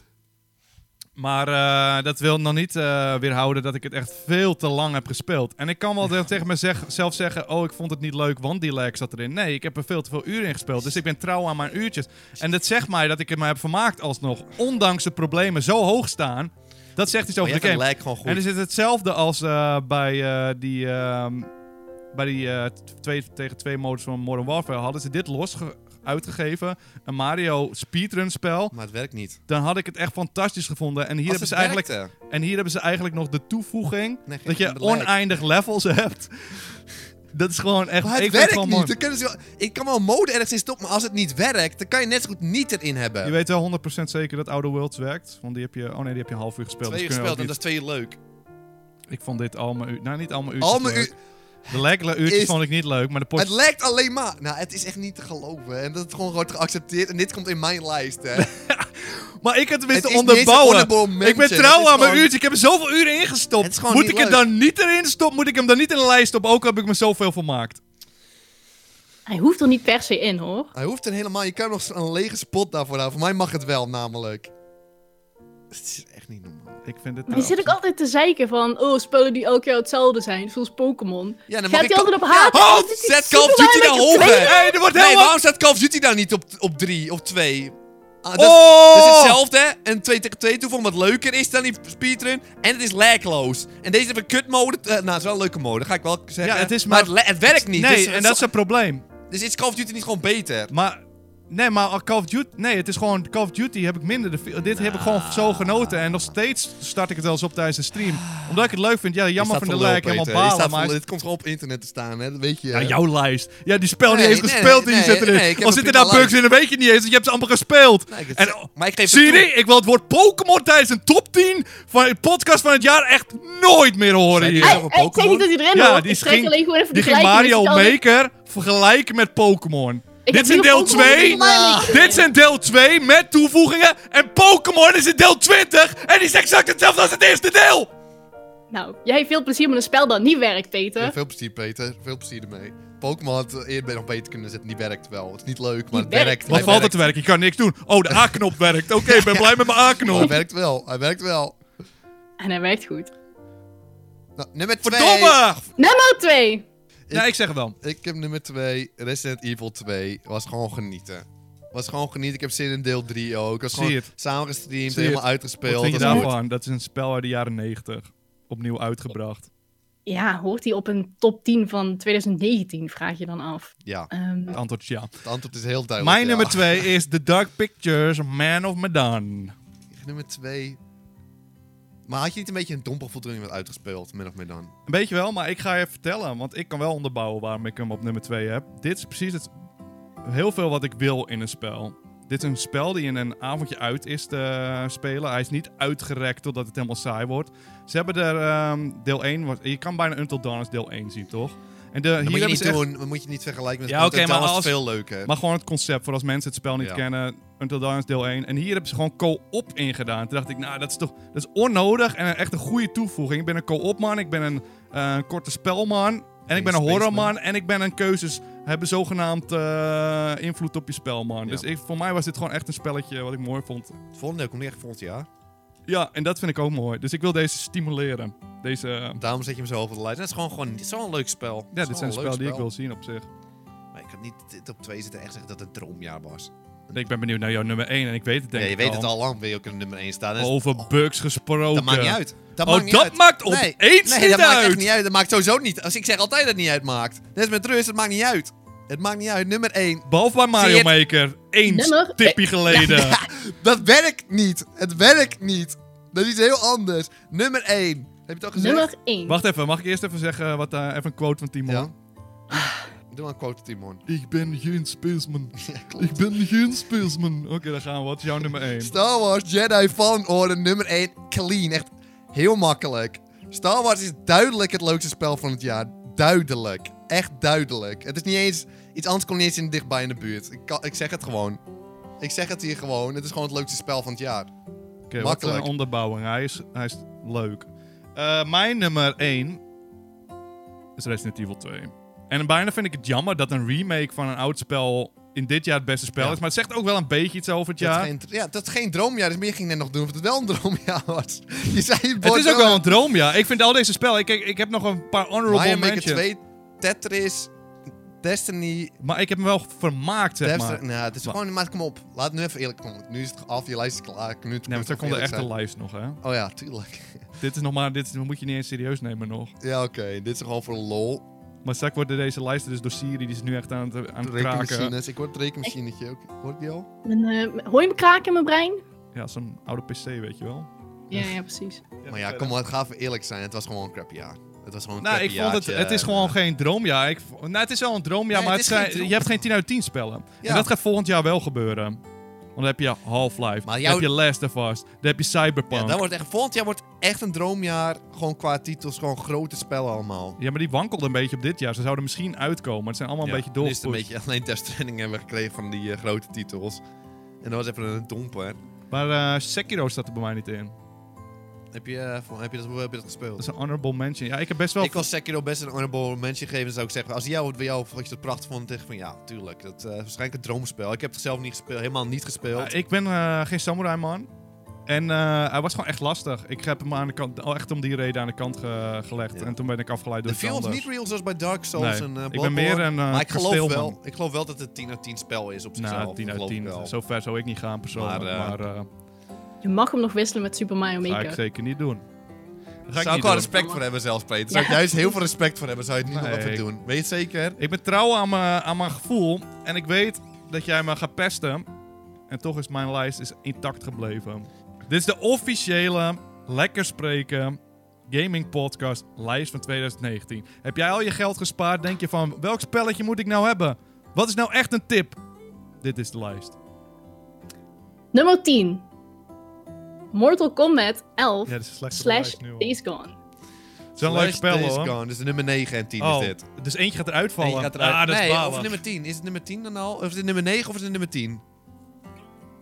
A: Maar eh, dat wil nog niet eh, weerhouden dat ik het echt veel te lang heb gespeeld. En ik kan wel de- tegen mezelf zeggen: Oh, ik vond het niet leuk, want die lag zat erin. Nee, ik heb er veel te veel uren in gespeeld. Dus ik ben trouw aan mijn uurtjes. En dat zegt mij dat ik er me heb vermaakt alsnog. Ondanks de problemen zo hoog staan. Dat zegt iets
B: Maar
A: over
B: jij
A: de game.
B: vindt lag gewoon goed.
A: En dus- is het hetzelfde als eh, bij eh, die, ehm, bij die eh, t- twee tegen twee modus van Modern Warfare. Hadden ze dit los ge- uitgegeven, een Mario speedrun spel,
B: Maar het werkt niet.
A: dan had ik het echt fantastisch gevonden. En hier, hebben ze, eigenlijk, en hier hebben ze eigenlijk nog de toevoeging
B: Nee, geen
A: dat je
B: gelijk.
A: oneindig levels hebt. Dat is gewoon echt...
B: Maar het
A: ik vind het
B: werkt
A: gewoon
B: niet.
A: mooi.
B: Dan kunnen ze wel, ik kan wel mode ergens in stoppen, maar als het niet werkt, dan kan je net zo goed niet erin
A: Je
B: hebben.
A: weet wel 100% zeker dat Outer Worlds werkt. Want die heb je... Oh nee, die heb je een half uur gespeeld.
B: Twee uur
A: dus kun je
B: gespeeld en
A: ook
B: dat is twee uur leuk.
A: niet- Ik vond dit allemaal... uur- Nou, niet allemaal uurtjes
B: Al mijn
A: leuk.
B: uur-
A: De lekkere uurtjes
B: is-
A: vond ik niet leuk, maar de potjes
B: het lijkt alleen maar. Nou, het is echt niet te geloven. En dat het gewoon wordt geaccepteerd. En dit komt in mijn lijst. Hè.
A: Maar ik heb het
B: Het
A: tenminste
B: is niet eens een honorable
A: onderbouwen.
B: mention.
A: Ik ben
B: Het
A: trouw
B: is
A: aan mijn
B: gewoon-
A: uurtje. Ik heb er zoveel uren
B: Het is
A: ingestopt.
B: gewoon
A: Moet
B: niet
A: ik het
B: leuk.
A: dan niet erin stoppen? Moet ik hem dan niet in de lijst stoppen? Ook al heb ik me zoveel vermaakt.
C: Hij hoeft er niet per se in, hoor.
B: Hij hoeft er helemaal. Je kan nog een lege spot daarvoor houden. Voor mij mag het wel, namelijk. Het is echt niet normaal.
A: Ik vind dit
C: Maar je zit ook altijd te zeiken van... Oh, spullen die elk jaar hetzelfde zijn, zoals Pokémon.
B: Ja, dan mag
C: Gaat
B: ik
C: hij
B: Call-
C: altijd op haat?
B: Ja, halt!
A: oh,
C: Dit is
B: Zet
C: super
B: Call of Duty
C: belangrijk
B: naar
C: om te
B: hoger!
C: weten.
A: Hey, er wordt
B: Nee,
A: heel
B: waarom staat Call of Duty dan niet op, op drie of twee? Ah, dat,
A: Oh!
B: dat is hetzelfde, hè? En 2 tegen 2 toevoegen, wat leuker is dan die speedrun. En het is lagloos. En deze hebben een kutmode. eh, nou, het is wel een leuke mode, ga ik wel zeggen.
A: Ja, het is
B: maar...
A: maar-
B: het, la- het werkt niet.
A: Nee,
B: dus,
A: en dat is
B: zo-
A: een probleem.
B: dus is Call of Duty niet gewoon beter?
A: Maar Nee, maar Call of Duty... Nee, het is gewoon... Call of Duty heb ik minder... De, fi- dit heb ik gewoon
B: Nou.
A: zo genoten. En nog steeds start ik het wel eens op tijdens de stream. Omdat ik het leuk vind. Ja, jammer van de
B: lul,
A: lijk. Helemaal
B: Peter. Je
A: balen,
B: staat
A: maar...
B: van- Dit komt gewoon op internet te staan, hè? dat weet je.
A: Nou, Ja,
B: eh.
A: jouw lijst. Ja, die spel
B: Nee,
A: niet eens
B: nee,
A: gespeeld die
B: nee,
A: zit erin.
B: nee, ik heb
A: Al
B: een
A: zitten
B: prima
A: daar bugs
B: lijst.
A: in, dan weet je niet eens. want Je hebt ze allemaal gespeeld.
B: Nee, ik het
A: en,
B: zeg- maar ik geef het
A: zie
B: toe.
A: je? Ik wil het woord Pokémon tijdens een top 10 van de podcast van het jaar echt nooit meer horen
B: Zijn
A: hier.
B: die-
C: Hij-
B: toch een
C: hij- Ik zeg niet
B: Pokémon?
C: dat hij erin
A: Ja,
C: hoort.
A: die
C: Ik trek
A: ging-
C: alleen gewoon even
A: Die
C: de
A: ging
C: gelijkenis.
A: Mario
C: Ik zal-
A: Maker vergelijken met Pokémon.
C: heb
A: Dit is in
C: heel
A: deel
C: Pokémon
A: 2.
C: Mario Maker.
A: Dit is in deel 2 met toevoegingen. En Pokémon is in deel 20. En die is exact hetzelfde als het eerste deel.
C: Nou, jij hebt veel plezier met een spel dat niet werkt, Peter.
B: Ja, veel plezier, Peter. Veel plezier ermee. Pokémon had eh, eerder nog beter kunnen zetten. Die werkt wel. Het is niet leuk, maar het
C: werkt.
B: werkt.
A: Wat
B: Hij
A: valt er
B: werkt.
A: te werken? Je kan niks doen. Oh, de A-knop werkt. Oké, ik ben blij met mijn
B: Hij
A: A-knop.
B: werkt wel. Hij werkt wel.
C: En hij werkt goed.
B: Nou, nummer 2.
A: Verdomme!
C: Nummer 2.
A: Ja, ik zeg het wel.
B: Ik heb nummer 2. Resident Evil 2. Was gewoon genieten. Was gewoon genieten. Ik heb zin in deel 3 ook. Was
A: Zie
B: gewoon
A: het.
B: samen gestreamd,
A: Zie
B: helemaal
A: het. Wat
B: uitgespeeld.
A: vind je
B: Dat was goed.
A: daarvan? Dat is een spel uit de jaren 90. Opnieuw uitgebracht.
C: Ja, hoort hij op een top 10 van 2019, vraag je dan af.
B: Ja,
C: Ehm,
A: Het antwoord is ja.
B: het antwoord is heel duidelijk.
A: Mijn
B: ja.
A: nummer 2 is The Dark Pictures, Man of Medan.
B: Nummer 2. Maar had je niet een beetje een dompergevoel toen je werd uitgespeeld, min of meer dan?
A: Een beetje wel, maar ik ga je vertellen, want ik kan wel onderbouwen waarom ik hem op nummer 2 heb. Dit is precies het, heel veel wat ik wil in een spel. Dit is een spel die in een avondje uit is te spelen. Hij is niet uitgerekt totdat het helemaal saai wordt. Ze hebben er ehm, deel 1, was- je kan bijna Until Dawn als deel 1 zien, toch? En de,
B: Dat
A: hier
B: moet je
A: hebben
B: niet
A: ze echt-
B: doen. Dat moet je niet vergelijken met
A: Ja, oké,
B: Until Dawn
A: maar
B: was
A: als-
B: veel leuker.
A: Maar gewoon het concept, voor als mensen het spel niet
B: Ja.
A: kennen. Until Dawn is deel 1. En hier hebben ze gewoon co-op ingedaan. Toen dacht ik, nou, dat is toch dat is onnodig en een- echt een goede toevoeging. Ik ben een co-op man, ik ben een eh, korte spelman. En ik ben een
B: spaceman.
A: horrorman en ik ben een keuzes hebben zogenaamd eh, invloed op je spelman. Dus ik, voor mij was dit gewoon echt een spelletje wat ik mooi vond.
B: Het volgende deel komt niet echt volgend jaar.
A: Ja, en dat vind ik ook mooi. Dus ik wil deze stimuleren. Deze,
B: Daarom zet je hem zo hoog op de lijst. Dat is gewoon, gewoon zo'n leuk spel.
A: ja,
B: Dat is
A: dit
B: gewoon
A: zijn
B: een leuk
A: spellen die ik wil zien op zich.
B: Maar ik had niet dit op twee zitten en echt zeggen dat het een droomjaar was.
A: Ik ben benieuwd naar jouw nummer 1 en ik weet het denk
B: ja, je
A: ik
B: weet het al lang, wil je ook in nummer 1 staan. Dat is-
A: Over bugs gesproken.
B: dat maakt niet uit. Dat
A: Oh,
B: maakt niet
A: dat
B: uit.
A: maakt
B: nee.
A: opeens niet
B: nee, dat maakt
A: uit.
B: echt niet uit. Dat maakt sowieso niet. Als ik zeg altijd dat het niet uitmaakt. Net als met rust, dus het maakt niet uit. Het maakt niet uit. Nummer 1.
A: Behalve bij Mario
B: Zie
A: Maker. Eens
C: Nummer-
A: tippie geleden.
B: dat werkt niet. Het werkt niet. Dat is iets heel anders. Nummer 1. Heb je het al gezegd?
C: nummer 1.
A: Wacht even, mag ik eerst even zeggen wat eh, even een quote van Timon?
B: Ja. Doe maar een quote, Timon.
A: Ik ben geen speelsman.
B: Ja, klopt.
A: ik ben geen speelsman. Hm, Oké, daar gaan we. Wat is jouw nummer 1?
B: Star Wars Jedi Fallen Order nummer 1 clean. Echt heel makkelijk. Star Wars is duidelijk het leukste spel van het jaar. Duidelijk. Echt duidelijk. Het is niet eens... Iets anders komt niet eens in dichtbij in de buurt. Ik, kan- ik zeg het gewoon. Ik zeg het hier gewoon. Het is gewoon het leukste spel van het jaar.
A: Oké, wat een
B: Makkelijk.
A: onderbouwing. Hij is, hij is leuk. Eh, mijn nummer 1 is Resident Evil 2. En bijna vind ik het jammer dat een remake van een oud spel in dit jaar het beste spel
B: Ja.
A: is. Maar het zegt ook wel een beetje iets over het
B: Dat
A: jaar.
B: is geen, ja, dat is geen droomjaar. Dus meer ging net nog doen of het wel een droomjaar was. Je zei het
A: Het
B: bord
A: is ook wel een droom, ja. Ik vind al deze spellen... Ik, ik, ik heb nog een paar honorable
B: Mario Maker
A: mentions.
B: 2, Tetris, Destiny...
A: Maar ik heb me wel vermaakt, zeg maar.
B: Death- nou, het is
A: Maar-
B: gewoon... Maar kom op. Laat nu even eerlijk komen. Nu is het af. Je lijst is klaar. Nu
A: Nee, want daar komt de echte lijst nog, hè?
B: Oh ja, tuurlijk.
A: Dit is nog maar, dit moet je niet eens serieus nemen nog.
B: Ja, oké. Dit is gewoon voor lol.
A: Maar straks worden deze lijsten dus door Siri, die is nu echt aan het, aan het kraken.
B: Rekenmachines. Ik hoor het rekenmachinetje ook. Hoort die al?
C: Een, eh, hoor je me kraken in mijn brein?
A: Ja, zo'n oude PC, weet je wel.
C: Ja, ja, precies.
B: maar ja, kom maar. Het gaat even eerlijk zijn. Het was gewoon een crap jaar. Het was gewoon een
A: Nou,
B: crappy
A: ik vond het,
B: jaartje.
A: het is gewoon geen droomjaar. Ik, vo- nou, het is wel een droomjaar,
B: Nee,
A: maar
B: het
A: het
B: is
A: zijn-
B: geen droom.
A: je hebt geen 10 uit 10 spellen.
B: Ja.
A: En dat gaat volgend jaar wel gebeuren. Want dan heb je Half-Life,
B: Maar
A: dan
B: jouw-
A: heb je Last of Us, dan heb je
B: Ja,
A: Cyberpunk.
B: dat
A: Ja,
B: wordt echt, volgend jaar wordt echt een droomjaar. Gewoon qua titels. Gewoon grote spellen allemaal.
A: maar die wankelde een beetje op dit jaar. Ze zouden misschien uitkomen, maar het zijn allemaal een beetje
B: Nu is het een
A: doorgepusht.
B: beetje alleen Death Stranding hebben we gekregen van die eh, grote titels. En dat was even een domper.
A: Maar eh, Sekiro staat er bij mij niet in.
B: Heb je, eh, voor- heb je, dat, hoe heb je dat
A: Dat
B: gespeeld?
A: is een honorable mention. Ja, ik heb best wel...
B: Ik was Sekiro best een honorable mention gegeven, zou ik zeggen. Als jou bij jou vond je dat prachtig vond, dan zeg ik van ja, tuurlijk. Dat is waarschijnlijk een droomspel. Ik heb het zelf niet gespeeld, helemaal niet gespeeld.
A: Ja, ik ben eh, geen samurai man. En eh, hij was gewoon echt lastig. Ik heb hem aan de kant, al echt om die reden aan de kant ge- gelegd.
B: Ja.
A: En toen ben ik afgeleid door
B: De
A: iets
B: feel is
A: anders.
B: niet real zoals bij Dark Souls
A: Nee,
B: en eh
A: ik ben
B: Bloodborne.
A: meer een eh
B: maar ik geloof,
A: kasteelman.
B: wel, ik geloof wel dat het 10 uit 10 spel is op zichzelf.
A: Nou, 10
B: dat
A: uit
B: geloof ik
A: 10.
B: wel.
A: Zo ver zou ik niet gaan persoonlijk.
B: Maar, eh,
A: Maar, eh
C: Je mag hem nog wisselen met Super Mario
A: ga ik
C: Maker.
A: zeker niet doen. Dat Ga ik,
B: Zou ik
A: niet doen.
B: wel respect voor hebben zelfs, Peter. Zou ik
C: Ja.
B: juist heel veel respect voor hebben, zou je het niet nog
A: Nee.
B: even doen. Weet je het zeker?
A: ik ben trouw aan mijn aan mijn gevoel. En ik weet, dat jij me gaat pesten. En toch is mijn lijst is intact gebleven. Dit is de officiële Lekker Spreken Gaming Podcast lijst van 2019. Heb jij al je geld gespaard? Denk je van, welk spelletje moet ik nou hebben? Wat is nou echt een tip? Dit is de lijst.
C: Nummer 10. Mortal Kombat 11
A: Ja, dit is een slechte
C: slash
A: lijst nu al.
C: Days Gone.
A: Het is een leuk spel
B: Days
A: hoor.
B: Gone. Dus de nummer 9 en 10
A: Oh,
B: is dit.
A: dus eentje gaat eruit vallen.
B: En je gaat eruit.
A: Ah, dat
B: nee,
A: is balen.
B: of nummer 10. Is het nummer 10 dan al? Of is het nummer 9 of is het nummer 10?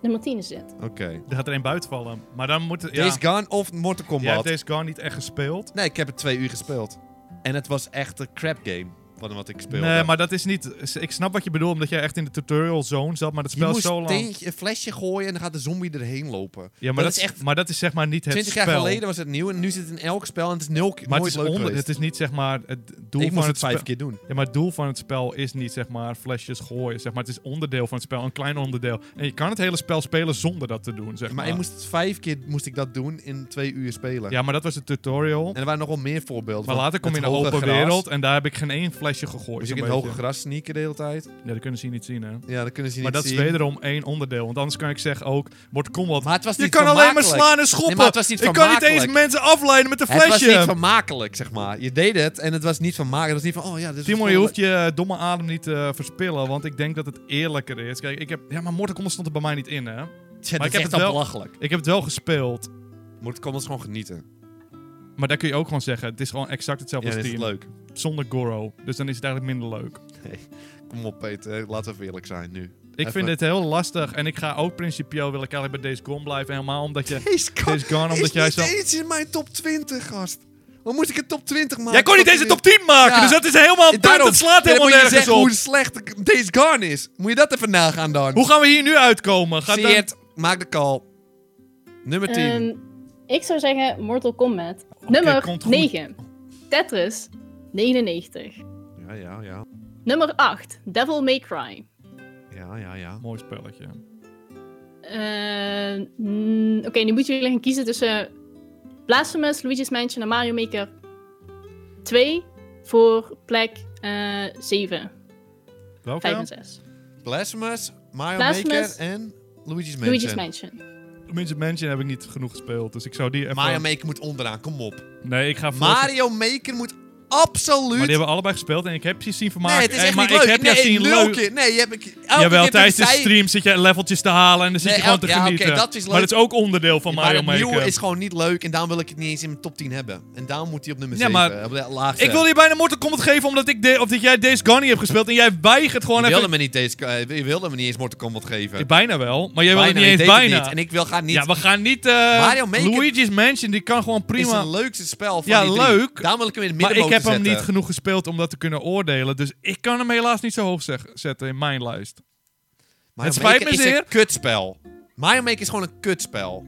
C: Nummer 10 is dit.
B: Oké.
A: Er gaat er één buiten vallen. Maar dan moet het... Ja,
B: Days Gone of
A: jij
B: Mortal
A: hebt
B: Kombat?
A: Days Gone niet echt gespeeld.
B: Nee, ik heb het twee uur gespeeld. En het was echt een crap game van wat ik speelde.
A: Nee, maar dat is niet... Ik snap wat je bedoelt, omdat jij echt in de tutorial zone zat, maar dat
B: je
A: spel is
B: moest
A: zo lang...
B: steentje- een flesje gooien en dan gaat de zombie erheen lopen.
A: Ja, maar dat, is echt... Maar dat is zeg maar niet het
B: 20
A: spel.
B: jaar geleden was het nieuw en nu zit het in elk spel en het is nul keer
A: Maar
B: nooit
A: het is,
B: leuk
A: onder-
B: geweest.
A: het is niet zeg maar... Het doel
B: ik
A: van
B: moest
A: het
B: het vijf
A: spel-
B: keer doen.
A: Ja, maar het doel van het spel is niet zeg maar flesjes gooien. Zeg maar. Het is onderdeel van het spel, een klein onderdeel. En je kan het hele spel spelen zonder dat te doen. Zeg maar.
B: Maar ik moest het vijf keer moest ik dat doen in twee uur spelen.
A: Ja, maar dat was het tutorial.
B: En er waren nogal meer voorbeelden.
A: Maar
B: van
A: later kom je in
B: het
A: de
B: hoge
A: open
B: gras.
A: wereld en daar heb ik geen één flesje gegooid.
B: Moest
A: zo'n
B: ik in het hoge
A: beetje.
B: gras sneaken de hele tijd.
A: Ja, dat kunnen ze hier niet zien, hè.
B: Ja, dat kunnen ze
A: maar
B: niet
A: dat
B: zien.
A: is wederom één onderdeel. Want anders kan ik zeggen ook, wordt kom wat...
B: Maar het was
A: Je
B: niet
A: kan alleen maar
B: vermakelijk.
A: slaan en schoppen.
B: Nee, maar het was niet
A: ik kan niet eens
B: vermakelijk.
A: mensen afleiden met een
B: Het was niet
A: flesje.
B: vermakelijk, zeg maar. Je deed het en het was niet vermakelijk. Het was niet van, oh ja, dit is
A: Timon, je
B: wel-
A: hoeft je eh, domme adem niet te verspillen, want ik denk dat het eerlijker is. Kijk, ik heb... Ja, maar Mortal Kombat stond er bij mij niet in, hè.
B: Tja,
A: Maar
B: maar
A: ik
B: ik
A: heb
B: heb
A: het
B: het
A: wel-
B: al belachelijk.
A: Ik heb het wel gespeeld.
B: Moet kom eens gewoon genieten.
A: Maar daar kun je ook gewoon zeggen, het is gewoon exact hetzelfde
B: Ja,
A: als
B: dit is
A: 10.
B: leuk.
A: Zonder Goro. Dus dan is het eigenlijk minder leuk.
B: Kom op, Peter. Laten we even eerlijk zijn nu.
A: Ik vind
B: Even-
A: dit heel lastig. En ik ga ook principieel, wil ik eigenlijk bij Days Gone blijven. Helemaal omdat je...
B: Days Gone,
A: Days Gone, omdat jij zo...
B: eens in mijn top 20, gast. Waarom moet ik een top 20 maken?
A: Jij kon niet eens een top 10 maken,
B: Ja.
A: dus dat is helemaal een punt.
B: Daarom-
A: Het slaat
B: dan
A: helemaal
B: moet je
A: nergens
B: zeggen
A: op.
B: hoe slecht Days Gone is. Moet je dat even nagaan dan?
A: Hoe gaan we hier nu uitkomen? Gaat
B: Zie
A: dan-
B: het. Maak de call. Nummer 10.
C: Ehm, ik zou zeggen Mortal Kombat.
A: komt
C: Nummer
A: goed.
C: 9. Tetris 99.
B: Ja, ja, ja.
C: Nummer 8. Devil May Cry.
B: Ja, ja, ja.
A: Mooi spelletje.
C: Ehm, mm, Oké, nu moeten jullie gaan kiezen tussen Blasphemous, Luigi's Mansion en Mario Maker 2 voor plek eh 7,
A: Welke?
C: 5 en 6.
B: Blasphemous, Mario
C: Blasphemous.
B: Maker en Luigi's Mansion.
C: Luigi's Mansion.
A: Tenminste, Mansion heb ik niet genoeg gespeeld, dus ik zou die even...
B: Mario Maker moet onderaan, kom op.
A: Nee, ik ga voor...
B: Mario Maker moet
A: Maar die
B: absoluut...
A: hebben allebei gespeeld en ik heb je zien vermaken.
B: Nee, het is
A: Eh,
B: echt
A: maar
B: niet leuk.
A: ik heb
B: nee,
A: je zien
B: nul
A: leuk.
B: keer- Nee, je hebt ik... elke keer
A: Jawel,
B: heb
A: tijdens de
B: ik zei-
A: stream zit je leveltjes te halen en dan zit
B: Nee,
A: je gewoon te
B: elke- ja, oké,
A: genieten.
B: dat is leuk.
A: Maar dat is ook onderdeel van
B: maar
A: Mario
B: het nieuwe
A: Maker.
B: is gewoon niet leuk en daarom wil ik het niet eens in mijn top 10 hebben. En daarom moet hij op nummer
A: Ja,
B: 7.
A: maar-
B: op de laagste.
A: Ik wil je bijna Mortal Kombat geven omdat ik de, of dat jij Days Gone niet hebt gespeeld en jij weigert gewoon
B: je
A: even...
B: wilde me niet deze, eh, je wilde me niet eens Mortal Kombat geven.
A: Eh, Bijna wel, maar jij wil het
B: Bijna,
A: niet
B: ik
A: eens
B: deed het
A: bijna.
B: niet. En ik wil gaan niet.
A: Ja, we gaan niet... eh,
B: Mario Maker-
A: Luigi's Mansion, die kan gewoon
B: Het is
A: prima...
B: het leukste spel van
A: Ja,
B: die drie.
A: leuk.
B: Daarom wil ik hem in het
A: Maar
B: midden
A: ik heb hem
B: zetten.
A: niet genoeg gespeeld om dat te kunnen oordelen. Dus ik kan hem helaas niet zo hoog zeg- zetten in mijn lijst.
B: Mario
A: Het spijt
B: Maker
A: me
B: is
A: zeer.
B: een kutspel. Mario Maker is gewoon een kutspel.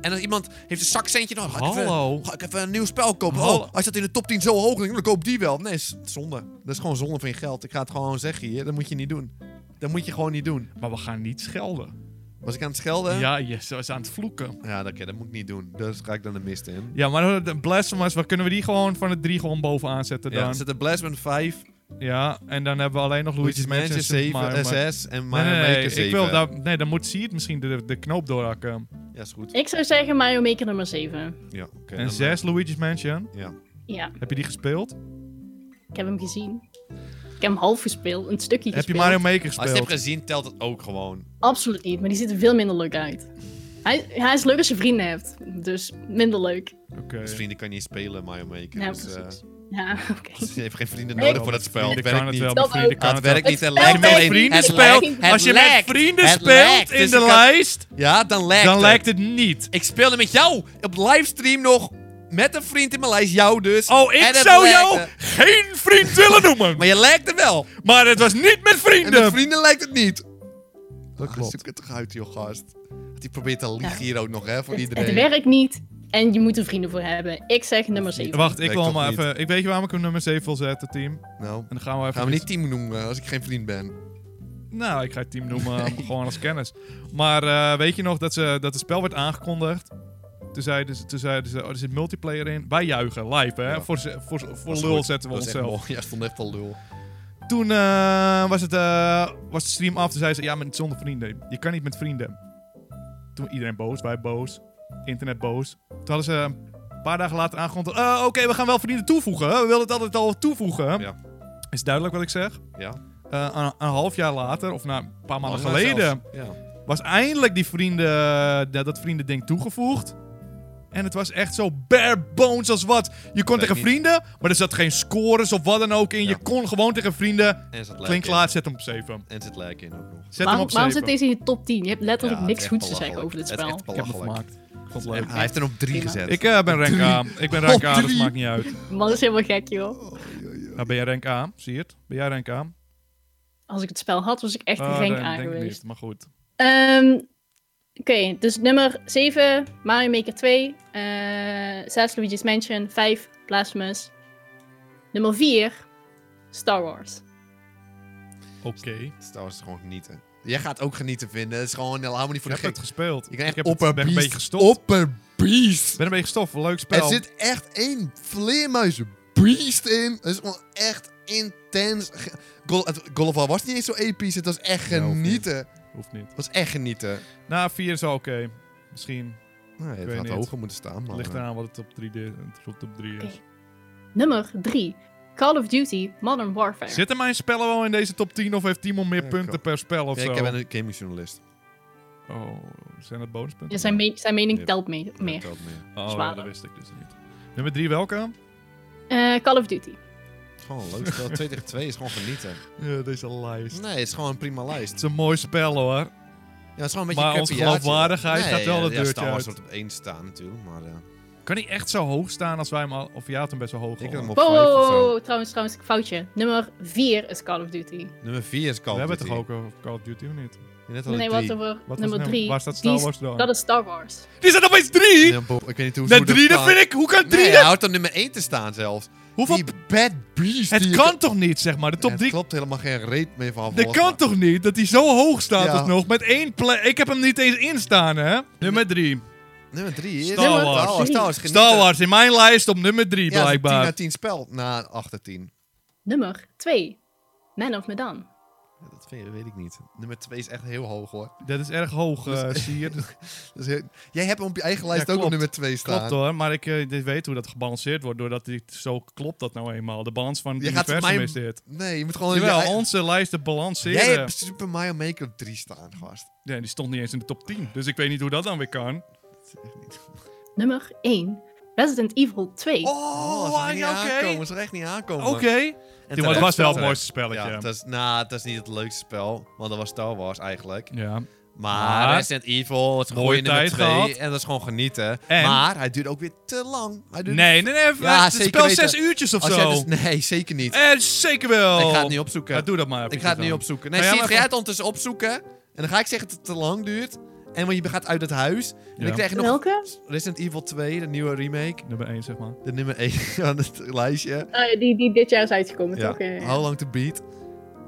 B: En als iemand heeft een zakcentje, dan ga ik,
A: Hallo.
B: even, ga ik even een nieuw spel kopen.
A: Hallo.
B: Oh, als dat in de top 10 zo hoog ligt, dan koop die wel. Nee, is zonde. Dat is gewoon zonde van je geld. Ik ga het gewoon zeggen hier. Dat moet je niet doen. Dat moet je gewoon niet doen.
A: Maar we gaan niet schelden.
B: Was ik aan het schelden?
A: Ja, yes, ze was aan het vloeken.
B: Ja, dat, oké, dat moet ik niet doen. Dus ga ik dan de mist in.
A: Ja, maar de Blasphemous, waar kunnen we die gewoon van de drie gewoon bovenaan zetten
B: Ja,
A: dan?
B: dan zit de Blasman 5,
A: Ja, en dan hebben we alleen nog Luigi's Mansion en
B: Mansion
A: Super
B: 7,
A: Mario Maker.
B: SS en
A: Nee,
B: Mario
A: nee, nee,
B: Maker 7.
A: ik wil daar, nee, dan moet Seed misschien de, de knoop doorhakken.
B: Ja, is goed.
C: Ik zou zeggen Mario Maker nummer 7.
B: Ja, oké, dan,
A: en 6, Luigi's Mansion.
B: eh, Ja.
C: Ja,
A: Heb je die gespeeld?
C: ik heb hem gezien. Ik heb hem half gespeeld, een stukje
A: Heb je
C: gespeeld.
A: Mario Maker
B: Als je het hebt
A: gespeeld?
B: gezien, telt het ook gewoon.
C: Absoluut niet, maar die ziet er veel minder leuk uit. Hij, hij is leuk als je vrienden hebt, dus minder leuk.
A: Oké.
B: Als vrienden kan je niet spelen, Mario Maker.
C: Nou,
B: dus, eh,
C: precies. Ja, oké.
B: je heeft geen vrienden
C: Ik-
B: nodig voor dat spel. Het
A: Vrienden kan
B: werkt
A: het
B: niet.
A: wel,
C: Dat
A: maar vrienden
C: ook.
A: kan
B: Ah,
A: het
B: het
A: wel.
B: werkt niet.
C: Het
A: Als je
B: Het lijkt
A: met vrienden
B: alleen. het
C: spel werkt
A: speelt,
B: lijkt- het
A: als je met
B: lijkt.
A: vrienden
B: Het
A: speelt
B: lijkt,
A: in
B: dus
A: de
B: ik had-
A: lijst,
B: Ja, dan lijkt
A: dan
B: het.
A: lijkt het niet.
B: Ik speelde met jou op livestream nog. Met een vriend in mijn lijst, jou dus.
A: Oh, ik
B: En het
A: zou jou
B: lijkt, eh,
A: geen vriend willen noemen.
B: Maar je lijkt er wel.
A: Maar het was niet met
B: En
A: vrienden.
B: met vrienden lijkt het niet. Dat
A: klopt.
B: Zoek het toch uit, joh, gast. Die probeert te liegen
C: Ja.
B: hier ook nog, hè, voor
C: Het,
B: iedereen.
C: het werkt niet en je moet er vrienden voor hebben. Ik zeg nummer 7.
A: Wacht, ik
B: Nee,
A: wil
B: toch
A: maar
B: niet.
A: even. Ik weet je waarom ik hem nummer 7 wil zetten, team. En
B: Nou,
A: dan gaan we even.
B: gaan we niet team noemen eh, als ik geen vriend ben.
A: Nou, ik ga het team noemen, gewoon als kennis. Maar eh, weet je nog dat, ze, dat het spel werd aangekondigd? Toen zeiden ze, toen zeiden ze oh, er zit multiplayer in. Wij juichen, live hè.
B: Ja.
A: Voor, ze- voor, voor
B: Was
A: lul
B: goed.
A: zetten we
B: Dat was echt
A: onszelf.
B: mooi. Ja, stond echt wel lul.
A: toen eh, was, het, eh, was de stream af. Toen zei ze, ja, maar niet zonder vrienden. Je kan niet met vrienden. Toen iedereen boos, wij boos. Internet boos. Toen hadden ze een paar dagen later aangekondigd... eh, Oké, we gaan wel vrienden toevoegen. We wilden het altijd al toevoegen.
B: Ja.
A: Is duidelijk wat ik zeg?
B: Ja.
A: Eh, een, een half jaar later, of nou, een paar maanden
B: Langer
A: geleden...
B: zelfs. Ja.
A: was eindelijk die vrienden, eh, dat, dat vriendending toegevoegd. En het was echt zo bare bones als wat. Je kon
B: Weet
A: tegen
B: niet.
A: vrienden, maar er zat geen scores of wat dan ook in.
B: Ja.
A: Je kon gewoon tegen vrienden.
B: En zit
A: Klinkt
B: in.
A: klaar, zet hem op 7.
B: En zit lijk in ook nog.
A: Zet hem
C: waarom
A: op
C: waarom
A: 7.
C: zit deze in je top 10? Je hebt letterlijk
B: Ja, het
C: niks
B: is
C: goeds
B: echt
C: te zeggen over dit
B: belachelijk.
C: spel.
B: Het is
A: Ik
B: echt
A: heb hem
B: belachelijk.
A: gemaakt. Ik vond het leuk.
B: En Hij heeft er op drie
C: Prima.
B: gezet.
A: Ik eh, ben rank A. Ik ben rank
B: Op
A: A, dus
B: drie.
A: maakt niet uit.
C: Man is helemaal gek, joh.
A: Nou, ben jij rank A? Zie je het? Ben jij rank A?
C: Als ik het spel had, was ik echt
A: Ah,
C: rank
A: dan
C: A
A: denk ik
C: geweest.
A: niet, maar goed.
C: Ehm, Oké, dus nummer 7, Mario Maker 2. eh 6, Luigi's Mansion. 5, Blasphemous. Nummer 4, Star Wars.
A: Oké. Ik
B: Het is trouwens gewoon genieten. Jij gaat ook genieten vinden. Het is gewoon helemaal niet voor de
A: heb
B: gek.
A: het gespeeld.
B: Ik ben echt
A: heb het,
B: opperbeest.
A: ben een beetje gestopt.
B: Opperbeest.
A: Ben een beetje gestopt. Leuk
B: Er
A: spel.
B: zit echt één vleermuizenbeest in. Het is gewoon echt intens. Ge- Gol- het- Golf Ball was niet eens zo episch. Het was echt
A: Ja, of niet.
B: genieten. Het
A: Hoeft niet.
B: was echt genieten.
A: Nou, 4 is al oké. Misschien.
B: Nou, het
A: weet
B: had
A: niet.
B: hoger moeten staan, eh,
A: Het
B: man.
A: ligt eraan wat het op 3 de- het op top 3 is.
C: Oké. Nummer 3, Call of Duty Modern Warfare.
A: Zitten mijn spellen wel in deze top 10 of heeft Timon meer
B: Ja,
A: punten
B: klopt.
A: per spel of
B: Ja,
A: zo?
B: ik ben een gamingjournalist.
A: Oh, zijn dat bonuspunten?
C: Ja, zijn, me- zijn mening
B: Nee.
C: telt mee-
B: Dat
C: meer.
B: telt meer.
A: Oh, ja,
C: Zwaarder.
A: dat wist ik dus niet. Nummer 3 welke?
C: Eh, Call of Duty.
B: Het is gewoon een leuk spel. 2 tegen 2 is gewoon genieten.
A: Ja, deze lijst.
B: Nee, het is gewoon een prima lijst.
A: Het is een mooi spel hoor.
B: Ja, het is gewoon een beetje
A: Maar
B: een
A: onze
B: crappiaatje.
A: geloofwaardigheid gaat wel
B: ja,
A: dat
B: ja,
A: deurtje
B: Star Wars
A: uit.
B: wordt op één staan natuurlijk, maar... eh,
A: Kan hij echt zo hoog staan als wij hem al... Of jij had hem best wel hoog.
B: ik heb
A: al.
B: hem op
C: Wow,
B: 5 of zo.
C: trouwens, trouwens, foutje. Nummer 4 is Call of Duty.
B: Nummer 4 is Call
A: We
B: of
A: hebben
B: Duty.
A: het toch ook over Call of Duty of niet?
B: Net al
C: Nee,
B: nee,
C: wat
B: drie.
C: over
A: Wat
C: nummer
A: was
C: 3?
A: Waar staat Star Wars dan?
C: Dat is Star Wars.
A: Die staat opeens 3!
B: Ja, Bob, ik weet niet hoe
A: Nee,
B: hoe
A: 3 dat
B: kan.
A: vind ik! Hoe kan 3
B: Nee, hij
A: dat?
B: houdt op nummer 1 te staan zelfs.
A: Hoeveel...
B: Die bad beast.
A: Het
B: die-
A: kan toch niet, zeg maar? De top
B: Het
A: 3
B: klopt helemaal geen reet meer van.
A: Dat
B: volgens
A: kan
B: mij.
A: toch niet dat hij zo hoog staat
B: Ja.
A: alsnog? Met één plek. Ik heb hem niet eens instaan, hè? Nummer 3.
B: Nummer 3 is
A: Star Nummer Wars.
B: Star Wars. Oh,
C: drie.
B: Star Wars, genieten.
A: Star Wars in mijn lijst op nummer 3,
B: Ja, het is een 10
A: blijkbaar.
B: naar 10 spel. Nou, Na 8 à 10.
C: Nummer 2, Man of Medan.
B: Ja, Dat vind je- weet ik niet. Nummer 2 is echt heel hoog hoor.
A: Dat is erg hoog, eh,
B: Dus-
A: zie je.
B: Dus heel- Jij hebt hem op je eigen lijst ook
A: klopt.
B: op nummer 2 staan.
A: Klopt hoor, maar ik eh, dit weet hoe dat gebalanceerd wordt. Doordat dit zo klopt dat nou eenmaal. De balans van het
B: Je gaat
A: universum
B: mijn-
A: is dit.
B: Nee, je moet gewoon... je
A: Jawel,
B: ei-
A: onze lijsten balanceren.
B: eh- Jij hebt Super Mario Maker op 3 staan, gast.
A: Nee, die stond niet eens in de top 10. Dus ik weet niet hoe dat dan weer kan.
C: Nummer 1, Resident Evil 2.
B: Oh,
A: Oh,
B: ze gaan niet
A: ja, oké.
B: aankomen. Ze gaan echt niet aankomen.
A: Oké.
B: En
A: Toen was was
B: terecht.
A: wel het
B: Terecht.
A: mooiste spelletje.
B: Ja,
A: Ja.
B: het is, nou, dat is niet het leukste spel, want dat was Star Wars eigenlijk. Maar
A: Maar-
B: Resident Evil, het is
A: Mooie
B: mooie nummer
A: tijd
B: 2
A: gehad.
B: en dat is gewoon genieten.
A: En?
B: Maar hij duurt ook weer te lang. Hij duurt
A: Nee, nee, nee.
B: Ja,
A: het
B: zeker
A: spel
B: weten.
A: 6 uurtjes of
B: Als jij
A: zo.
B: dus- nee, zeker niet.
A: Eh, zeker wel.
B: Ik ga het niet opzoeken.
A: Ja, doe dat maar.
B: ik ga het
A: niet
B: niet opzoeken. Nee,
A: Ga jij
B: zie,
A: maar
B: ga jij
A: gewoon-
B: het ondertussen opzoeken en dan ga ik zeggen dat het te lang duurt. En want je gaat uit het huis. En
A: Ja.
B: dan krijg je nog
C: Welke?
B: Resident Evil 2, de nieuwe remake.
A: Nummer 1, zeg maar.
B: De nummer 1 van het lijstje.
C: Ah, die, die dit jaar is uitgekomen,
B: Ja.
C: toch? Ja, ja.
B: How long to beat.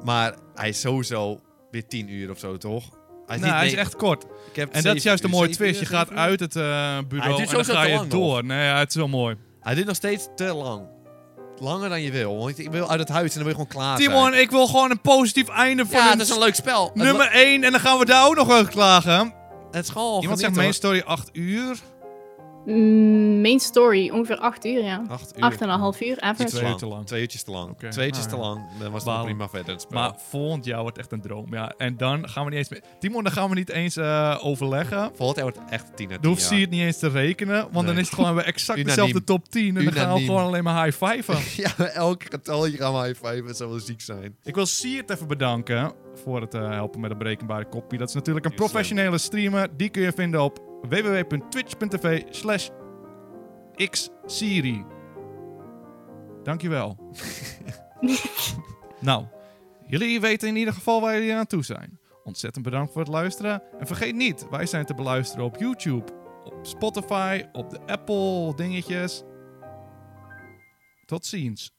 B: Maar hij is sowieso weer 10 uur of zo, toch? Hij
A: Nou,
B: niet-
A: hij is
B: nee,
A: echt kort.
B: ik heb
A: En dat
B: zeven
A: is juist de
B: uur,
A: mooie
B: zeven
A: twist. Je
B: uur,
A: gaat
B: zeven uur.
A: uit het eh,
B: duurt
A: bureau en dan
B: sowieso
A: ga
B: te
A: je
B: lang nog.
A: door. Nee, ja, het is wel mooi.
B: Hij duurt nog steeds te lang. Langer dan je wil. Want ik wil uit het huis en dan wil je gewoon klaar
A: Timon,
B: zijn.
A: ik wil gewoon een positief einde van
B: Ja,
A: een
B: het is een leuk spel. Het
A: nummer 1. En dan gaan we daar ook nog over klagen.
B: lo- Het is gewoon
A: Iemand zegt main story 8 uur.
C: Mm, main story, ongeveer 8 uur, ja.
B: 8 uur.
C: 8,5 uur,
B: Iets
A: Twee
C: average.
A: uur
B: lang.
A: te lang.
B: Twee uurtjes te lang.
A: Oké,
B: Twee uurtjes
A: nou
B: te
A: ja.
B: lang. Dan was het
A: Balen.
B: nog prima verder het spel.
A: Maar volgend jaar wordt echt een droom. Ja, en dan gaan we niet eens meer... Timon, dan gaan we niet eens eh, overleggen.
B: Volgend jaar wordt het echt 10
A: Dan
B: uit 10
A: hoeft zie je het niet eens te rekenen. Want dan
B: Nee.
A: is het gewoon weer exact
B: Unaniem.
A: dezelfde top 10. En dan gaan we
B: Unaniem.
A: gewoon alleen maar high-fiven.
B: Ja, elke getalje gaan we high five. Het zou wel ziek zijn.
A: Ik wil Siert even bedanken voor het eh, helpen met een berekenbare kopie. Dat is natuurlijk een
B: Heel slim.
A: professionele streamer. Die kun je vinden op www.twitch.tv slash xsiri. Dankjewel. nou, jullie weten in ieder geval waar jullie aan toe zijn. Ontzettend bedankt voor het luisteren. En vergeet niet, wij zijn te beluisteren op YouTube, op Spotify, op de Apple dingetjes. Tot ziens.